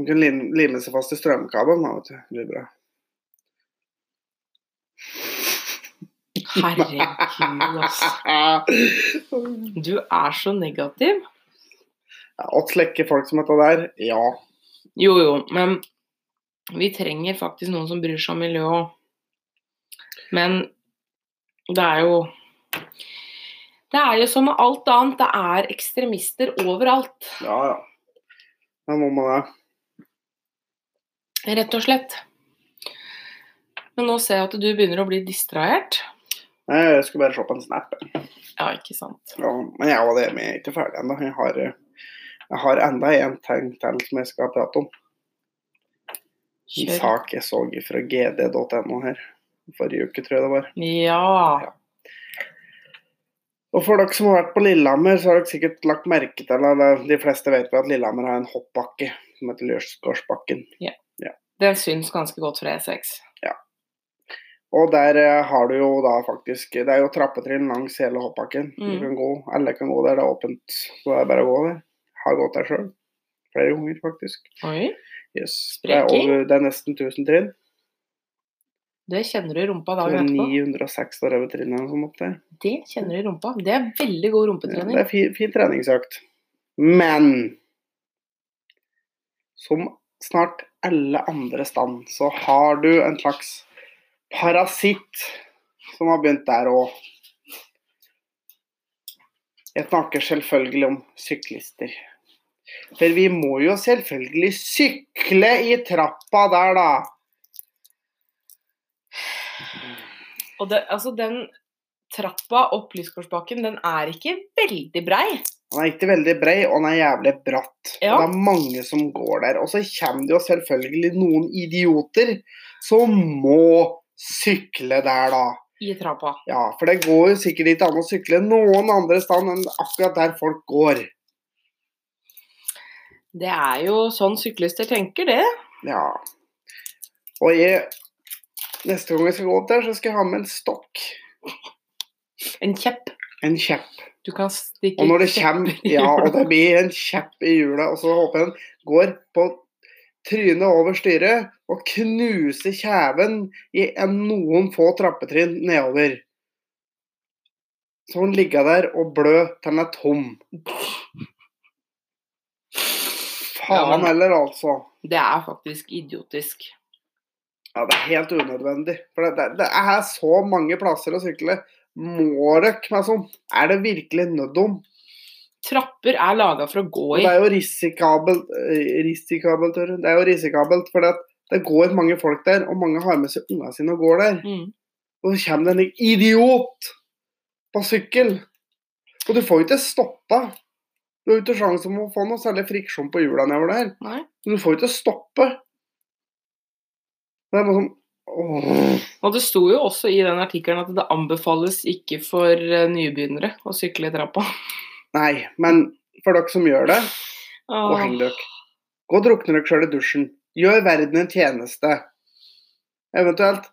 S1: De kan lim- lime seg fast i strømkabelen. da, vet du. Det blir bra.
S2: Herregud, altså. Du er så negativ.
S1: Ja, Å slekke folk som dette der, ja.
S2: Jo, jo, men vi trenger faktisk noen som bryr seg om miljøet òg. Men det er jo Det er jo som med alt annet. Det er ekstremister overalt.
S1: Ja, ja. Det er noe med det.
S2: Rett og slett. Men nå ser jeg at du begynner å bli distrahert.
S1: Nei, Jeg skulle bare se på en snap.
S2: Ja, ikke sant.
S1: Ja, men jeg og det med er ikke ferdig ennå. Jeg har, eh, jeg har enda en ting til som jeg skal prate om. En
S2: Kjør.
S1: sak jeg så fra gd.no her forrige uke, tror jeg det var.
S2: Ja.
S1: Og for dere som har vært på Lillehammer, så har dere sikkert lagt merke til eller de fleste vet jo at Lillehammer har en hoppbakke som heter Lørsgårdsbakken.
S2: Den syns ganske godt fra E E6.
S1: Og der eh, har du jo da faktisk Det er jo trappetrinn langs hele hoppbakken. Du
S2: Mm.
S1: kan gå, alle kan gå der, det er åpent. Så det er bare å gå der. Har gått der sjøl. Flere ganger, faktisk.
S2: Oi,
S1: Yes. Det, er
S2: Spreking.
S1: over, det er nesten 1000 trinn.
S2: det kjenner du i rumpa
S1: Det
S2: dagen
S1: er
S2: etterpå.
S1: 906 år over trinnet eller noe sånt. der.
S2: Det kjenner du i rumpa. Det er veldig god
S1: Ja,
S2: rumpetrening.
S1: det er fin, fin treningsøkt. Men som snart alle andre stand, så har du en slags parasitt som har begynt der òg. Jeg snakker selvfølgelig om syklister. For vi må jo selvfølgelig sykle i trappa der, da.
S2: Og det, altså den trappa opp Lysgårdsbakken, den er ikke veldig brei.
S1: Den er ikke veldig brei, og den er jævlig bratt.
S2: Ja.
S1: Det er mange som går der. Og så kommer det jo selvfølgelig noen idioter som må sykle der, da.
S2: I trappa.
S1: Ja, for det går jo sikkert ikke an å sykle noen andre sted enn akkurat der folk går.
S2: Det er jo sånn syklister tenker, det.
S1: Ja. Og jeg, neste gang jeg skal gå opp der, så skal jeg ha med en stokk.
S2: En kjepp.
S1: En kjepp.
S2: Du kan stikke
S1: Og når det kommer Ja, og det blir en kjepp i hjulet, og så håper jeg den går på trynet over styret og knuser kjeven i en noen få trappetrinn nedover. Så hun ligger der og blør til den er tom.
S2: Ja,
S1: Faen
S2: men-
S1: heller, altså.
S2: Det er faktisk idiotisk.
S1: Ja, det er helt unødvendig. For det, det, det er så mange plasser å sykle. Må dere meg sånn? Er det virkelig nødom?
S2: Trapper er laga for å gå
S1: Og
S2: i.
S1: det er jo risikabelt, eh, risikabelt, Tore. det er jo risikabelt, for det går mange folk der, og mange har med seg ungene sine og går der.
S2: Mm.
S1: Og så kommer det en idiot på sykkel, og du får jo ikke stoppa. Du har jo ikke sjanse om å få noe særlig friksjon på hjula nedover der.
S2: Nei.
S1: Men du får jo ikke stoppe. Det er bare sånn åh.
S2: Og det sto jo også i den artikkelen at det anbefales ikke for eh, nybegynnere å sykle i trappa.
S1: Nei, men for dere som gjør det, og
S2: Åh,
S1: heng dere. Gå og drukne dere sjøl i dusjen. Gjør verden en tjeneste. Eventuelt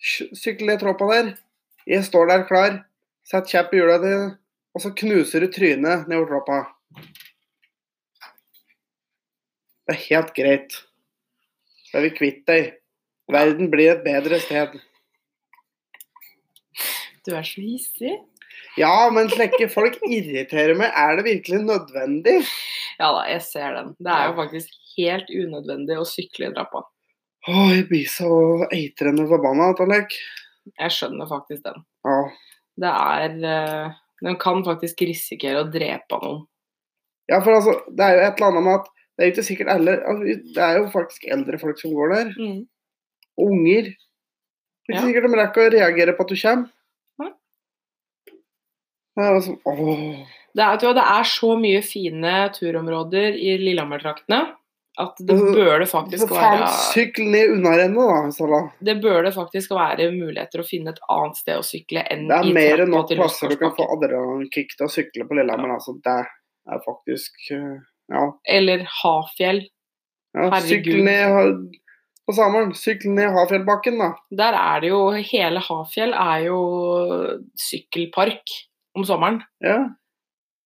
S1: sj- sykle i tråpa der. Jeg står der klar. Sett kjepp i hjula di, og så knuser du trynet nedover tråpa. Det er helt greit. Da er vi kvitt deg. Verden blir et bedre sted.
S2: du er så hissig.
S1: Ja, men slike folk irriterer meg. Er det virkelig nødvendig?
S2: Ja da, jeg ser den. Det er jo faktisk helt unødvendig å sykle i trappa.
S1: Å, jeg blir så eitrende forbanna, Tallek.
S2: Jeg skjønner faktisk den.
S1: Ja,
S2: Det er eh, Den kan faktisk risikere å drepe noen.
S1: Ja, for altså, det er jo et eller annet med at det er jo ikke sikkert alle altså, Det er jo faktisk eldre folk som går der, og unger. Det er ikke
S2: Ja.
S1: sikkert de rekker å reagere på at du kommer.
S2: Nei.
S1: Det er altså, åh,
S2: Det, er, vet du hva, det er så mye fine turområder i Lillehammer-traktene at det
S1: Øh,
S2: bør det faktisk
S1: for faen,
S2: være
S1: sykl ned unnarennet, da, Sala.
S2: det bør det faktisk være muligheter å finne et annet sted å sykle enn
S1: Det er mer enn nok
S2: til
S1: plasser du kan få
S2: Lysgårdsbakken.
S1: adrenalinkick til å sykle på Lillehammer. Altså, det er faktisk eh, Ja.
S2: Eller Hafjell.
S1: ja sykl
S2: Herregud.
S1: ned ha- på Sameren. Sykl ned Hafjellbakken, da.
S2: Der er det jo Hele Hafjell er jo sykkelpark om sommeren.
S1: Ja.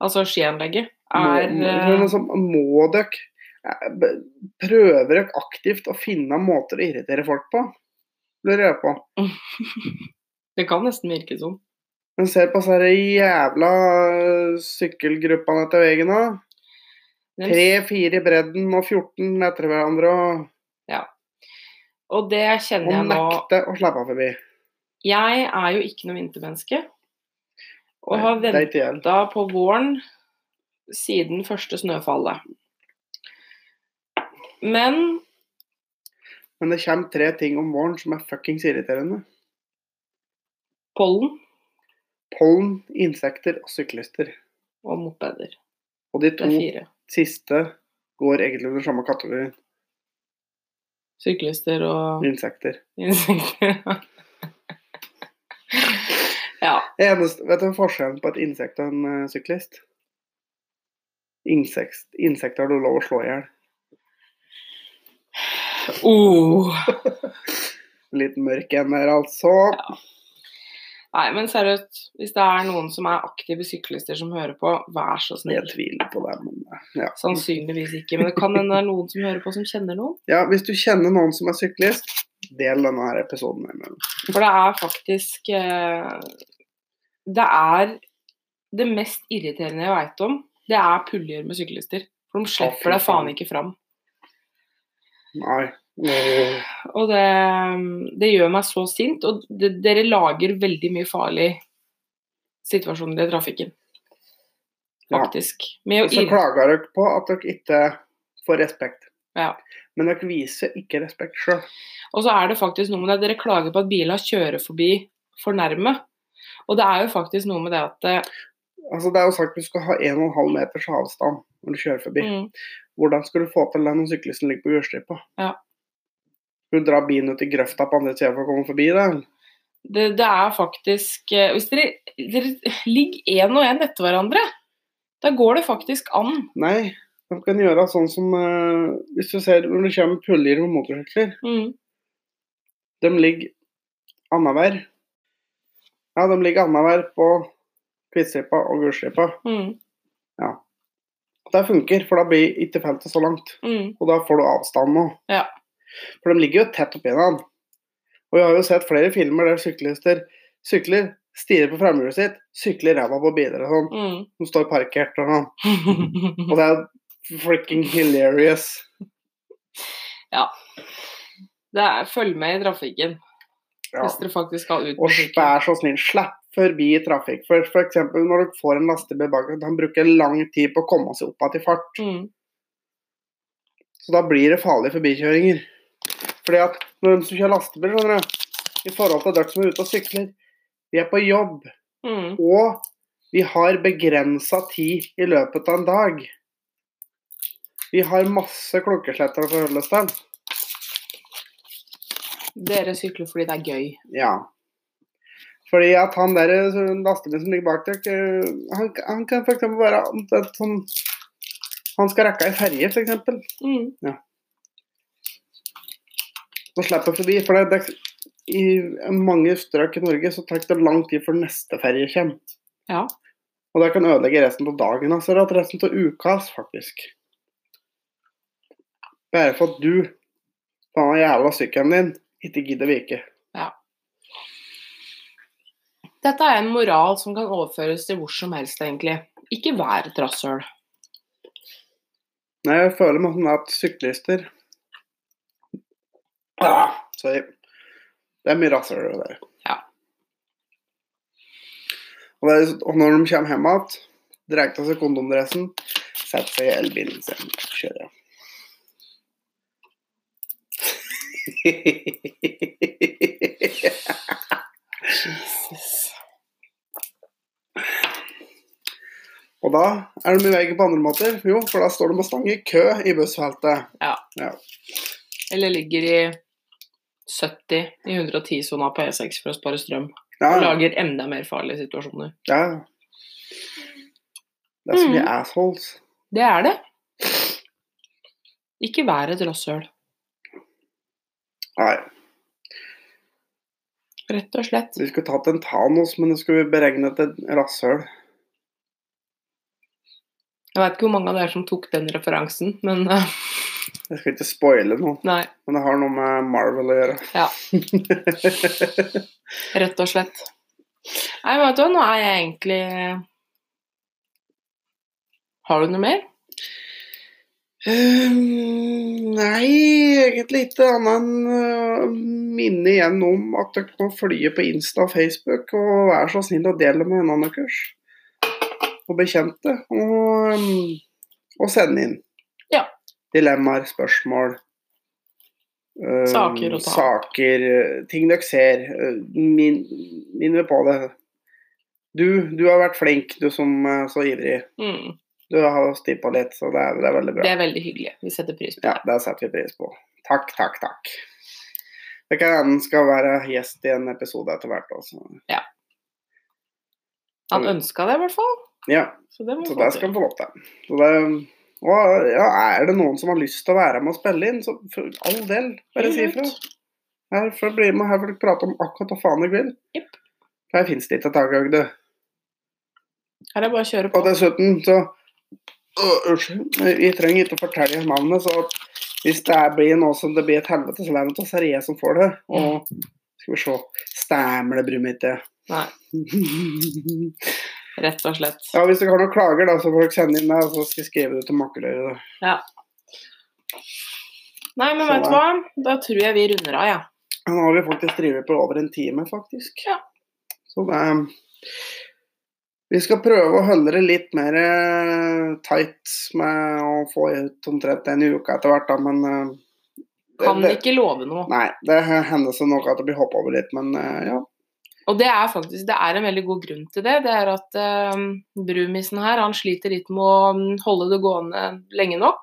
S2: Altså skianlegget.
S1: Må-
S2: Er,
S1: må-
S2: eh,
S1: men altså, må dere eh, b- Prøver dere aktivt å finne måter å irritere folk på? Lurer jeg på.
S2: det kan nesten virke sånn.
S1: Men ser på disse jævla eh, sykkelgruppene etter veien òg.
S2: Men-
S1: Tre-fire i bredden og 14 etter hverandre. Og,
S2: Og det kjenner
S1: og
S2: jeg nå
S1: nekte å slippe forbi.
S2: Jeg er jo ikke noe vintermenneske. Og har
S1: Det er ikke jeg.
S2: venta på våren siden første snøfallet. Men
S1: Men det kommer tre ting om våren som er fuckings irriterende.
S2: pollen
S1: Pollen, insekter og syklister.
S2: og mopeder.
S1: Og de
S2: Det
S1: to
S2: er fire.
S1: siste går egentlig under samme kategori.
S2: Syklister og
S1: Insekter.
S2: insekter. ja.
S1: Eneste, vet du forskjellen på et insekt og en eh, syklist? Insekt, insekter har du lov å slå i hjel.
S2: Oh.
S1: Litt mørk en der, altså.
S2: Nei, men seriøst. Hvis det er noen som er aktive syklister som hører på, vær så
S1: Jeg
S2: snill.
S1: tviler på det, men eh, ja.
S2: Sannsynligvis ikke, men det kan hende det er noen som hører på som kjenner noen.
S1: ja. Hvis du kjenner noen som er syklist, del denne her episoden med dem.
S2: For det er faktisk eh, Det er det mest irriterende jeg veit om. Det er puljer med syklister. For de slipper
S1: fy
S2: deg faen
S1: faen.
S2: ikke fram.
S1: Nei. Eh,
S2: Og det, det gjør meg så sint. Og det, dere lager veldig mye farlig situasjoner i trafikken.
S1: Ja.
S2: Faktisk. Med å
S1: Så
S2: irri-
S1: klager dere på at dere ikke får respekt.
S2: Ja.
S1: Men dere viser ikke respekt sjøl.
S2: Og så er det faktisk noe med det at dere klager på at biler kjører forbi for nærme. Og det er jo faktisk noe med det at eh,
S1: Altså, det er jo sagt du skal ha 1,5 meters avstand når du kjører forbi.
S2: mm,
S1: Hvordan skal du få til det når syklisten ligger på jordstripa?
S2: Ja.
S1: Skal du dra bilen ut i grøfta på andre sida for å komme forbi det? eller?
S2: det, det er faktisk eh, Hvis dere, dere ligger én og én etter hverandre, da går det faktisk an.
S1: Nei. De kan gjøre sånn som eh, Hvis du ser når du kommer med puljer på motorsykler,
S2: Mm.
S1: de ligger annenhver. Ja, de ligger annenhver på kvittstripa og gulstripa.
S2: Mm.
S1: Det funker, for da blir ikke feltet så langt.
S2: Mm.
S1: Og da får du avstand nå.
S2: Ja.
S1: For de ligger jo tett oppi hverandre. Og jeg har jo sett flere filmer der syklister sykler, stirrer på framhjulet sitt, sykler ræva på biler og sånn.
S2: Mm.
S1: Som står parkert og sånn. Og det er jo freaking hilarious.
S2: det er, følg med i trafikken
S1: Ja.
S2: hvis dere faktisk skal ut.
S1: Og
S2: med sykkelen.
S1: vær så snill, slapp forbi i trafikk. For, for eksempel når dere får en lastebil bak dere, han bruker lang tid på å komme seg opp igjen i fart.
S2: Mm.
S1: Så da blir det farlige forbikjøringer. Fordi at når de som kjører lastebil, skjønner du, i forhold til dere som er ute og sykler, de er på jobb.
S2: Mm.
S1: Og vi har begrensa tid i løpet av en dag. Vi har masse klokkesletter å forholde oss til.
S2: Dere sykler fordi det er gøy.
S1: Ja. Fordi at han der eh, lastebilen som ligger bak dere, eh, han, han kan f.eks. være omtrent sånn Han skal rekke ei ferje, f.eks.
S2: Mm.
S1: Og slipper forbi. For det, det, i mange strøk i Norge så tar det lang tid før neste ferje kommer.
S2: Ja.
S1: Og det kan ødelegge resten av dagen, altså. Eller at resten av uka, altså, faktisk. Bare for at du, faen jævla sykkelen din, ikke gidder vike.
S2: Dette er en moral som kan overføres til hvor som helst, egentlig. Ikke vær et rasshøl.
S1: Nei, jeg føler meg sånn at syklister ah, Sorry. Det er mye rasshøl over der.
S2: Ja.
S1: Og, det er, og når de kommer hjem igjen, drar av seg kondomdressen, setter seg i elbilen sin og kjører. og da er de i veien på andre måter. Jo, for da står de og stanger i kø i bussfeltet.
S2: Eller ligger i 70 i 110-sona på E6 for å spare strøm.
S1: Ja, ja.
S2: Og lager enda mer farlige situasjoner.
S1: Ja. Det er så mye
S2: Mm.
S1: assholes.
S2: Det er det. Ikke vær et rasshøl.
S1: Nei,
S2: Rett og slett.
S1: vi skulle tatt en Thanos, men det skulle vi beregnet et rasshøl.
S2: Jeg veit ikke hvor mange av dere som tok den referansen, men eh,
S1: Jeg skal ikke spoile noe,
S2: nei.
S1: men det har noe med Marvel å gjøre.
S2: Ja. Rett og slett. Nei, vet du hva, nå er jeg egentlig Har du noe mer?
S1: Ehm, nei, egentlig ikke annet enn øh, minne igjen om at dere må følge på Insta og Facebook, og vær så snill å dele med vennene deres og bekjente. Og, øhm, og sende inn
S2: Ja.
S1: dilemmaer, spørsmål. øhm,
S2: Saker å ta opp.
S1: saker, øh, ting dere ser. øh, Min, minner på det. Du, du har vært flink, du som er så ivrig.
S2: Mm.
S1: Du har stilt på litt, så det er, det er veldig bra.
S2: Det er veldig hyggelig. Vi setter pris på det.
S1: Ja, det setter vi pris på. Takk, takk, takk. Det kan hende han skal være gjest i en episode etter hvert også.
S2: Han ønska det, i hvert fall.
S1: Ja,
S2: Så det må
S1: så
S2: vi
S1: det
S2: få
S1: skal
S2: til.
S1: han få lov til. Så det, og ja, er det noen som har lyst til å være med og spille inn, så for all del, bare si ifra.
S2: Absolutt.
S1: Her får du bli med, her får du prate om akkurat hva faen du vil.
S2: Jepp.
S1: Her fins det ikke takhøyde.
S2: Her er bare å kjøre på.
S1: Og dessuten så Øh, Unnskyld, vi trenger ikke å fortelle navnet, så hvis det er- blir noe som det blir et helvete, så er det oss seriøse som får det. Og skal vi se Stemmer det brumitte?
S2: Nei, rett og slett.
S1: ja, hvis dere har noen klager, da, så får dere sende inn det, og så skal vi skrive det til makkeløret. da.
S2: Nei, men
S1: Så
S2: vet du
S1: da-
S2: hva? Da tror jeg vi runder av, jeg.
S1: Ja, Nå har vi faktisk drevet på over en time, faktisk.
S2: Ja.
S1: Så det er Vi skal prøve å holde det litt mer eh, tight med å få ut omtrent en uke etter hvert, da, men eh, det-
S2: Kan
S1: det-
S2: ikke love noe.
S1: Nei, det hender så nok at det blir hoppa over litt, men eh, ja.
S2: Og det er faktisk det er en veldig god grunn til det. Det er at eh, brumisen her han sliter litt med å mm, holde det gående lenge nok.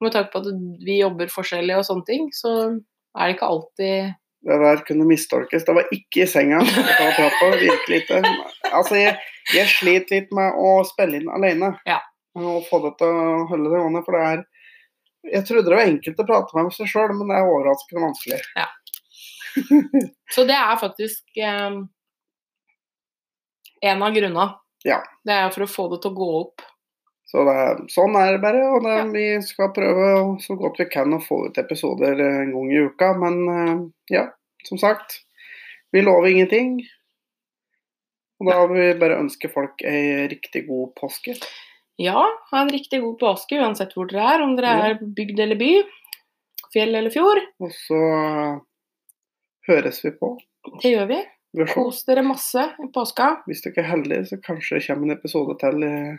S2: Med tanke på at vi jobber forskjellig og sånne ting, så er det ikke alltid
S1: Det der kunne mistolkes. Det var ikke i senga. Det var trappa, virkelig ikke. Altså, jeg, jeg sliter litt med å spille inn alene.
S2: Ja.
S1: Og få det til å holde det gående, for det er Jeg trodde det var enkelt å prate med seg sjøl, men det er overraskende vanskelig.
S2: Så det er faktisk eh, en av grunnene.
S1: Ja.
S2: Det er for å få det til å gå opp.
S1: Så det, er- sånn er det bare. Og det, vi skal prøve så godt vi kan å få ut episoder eh, en gang i uka. Men eh, ja, som sagt. Vi lover ingenting. Og da vil vi bare ønske folk ei riktig god påske.
S2: Ja, ha en riktig god påske uansett hvor dere er, om dere
S1: Ja.
S2: er bygd eller by, fjell eller fjord.
S1: Og så eh, høres vi på.
S2: Det gjør vi.
S1: Vi får se.
S2: Kos dere masse i påska.
S1: Hvis dere er heldige, så kanskje det kommer en episode til. eh,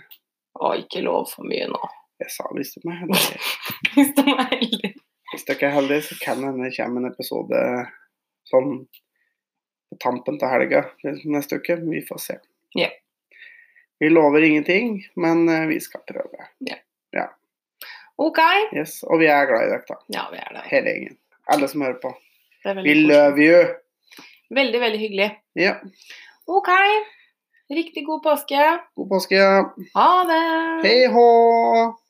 S2: Å, ikke lov for mye nå.
S1: Jeg sa hvis de er heldige.
S2: Hvis de er heldige.
S1: Hvis dere er heldige, så kan det hende det kommer en episode sånn på tampen til helga neste uke. Vi får se.
S2: Ja.
S1: Vi lover ingenting, men eh, vi skal prøve.
S2: OK.
S1: Yes, og vi er glad i dere, da.
S2: Ja, vi er der.
S1: hele gjengen. Alle som hører på.
S2: Det er veldig,
S1: We
S2: koselig.
S1: love you!
S2: veldig, veldig hyggelig.
S1: Ja,
S2: OK. Riktig god påske.
S1: god påske. ja.
S2: Ha det.
S1: Hei hå!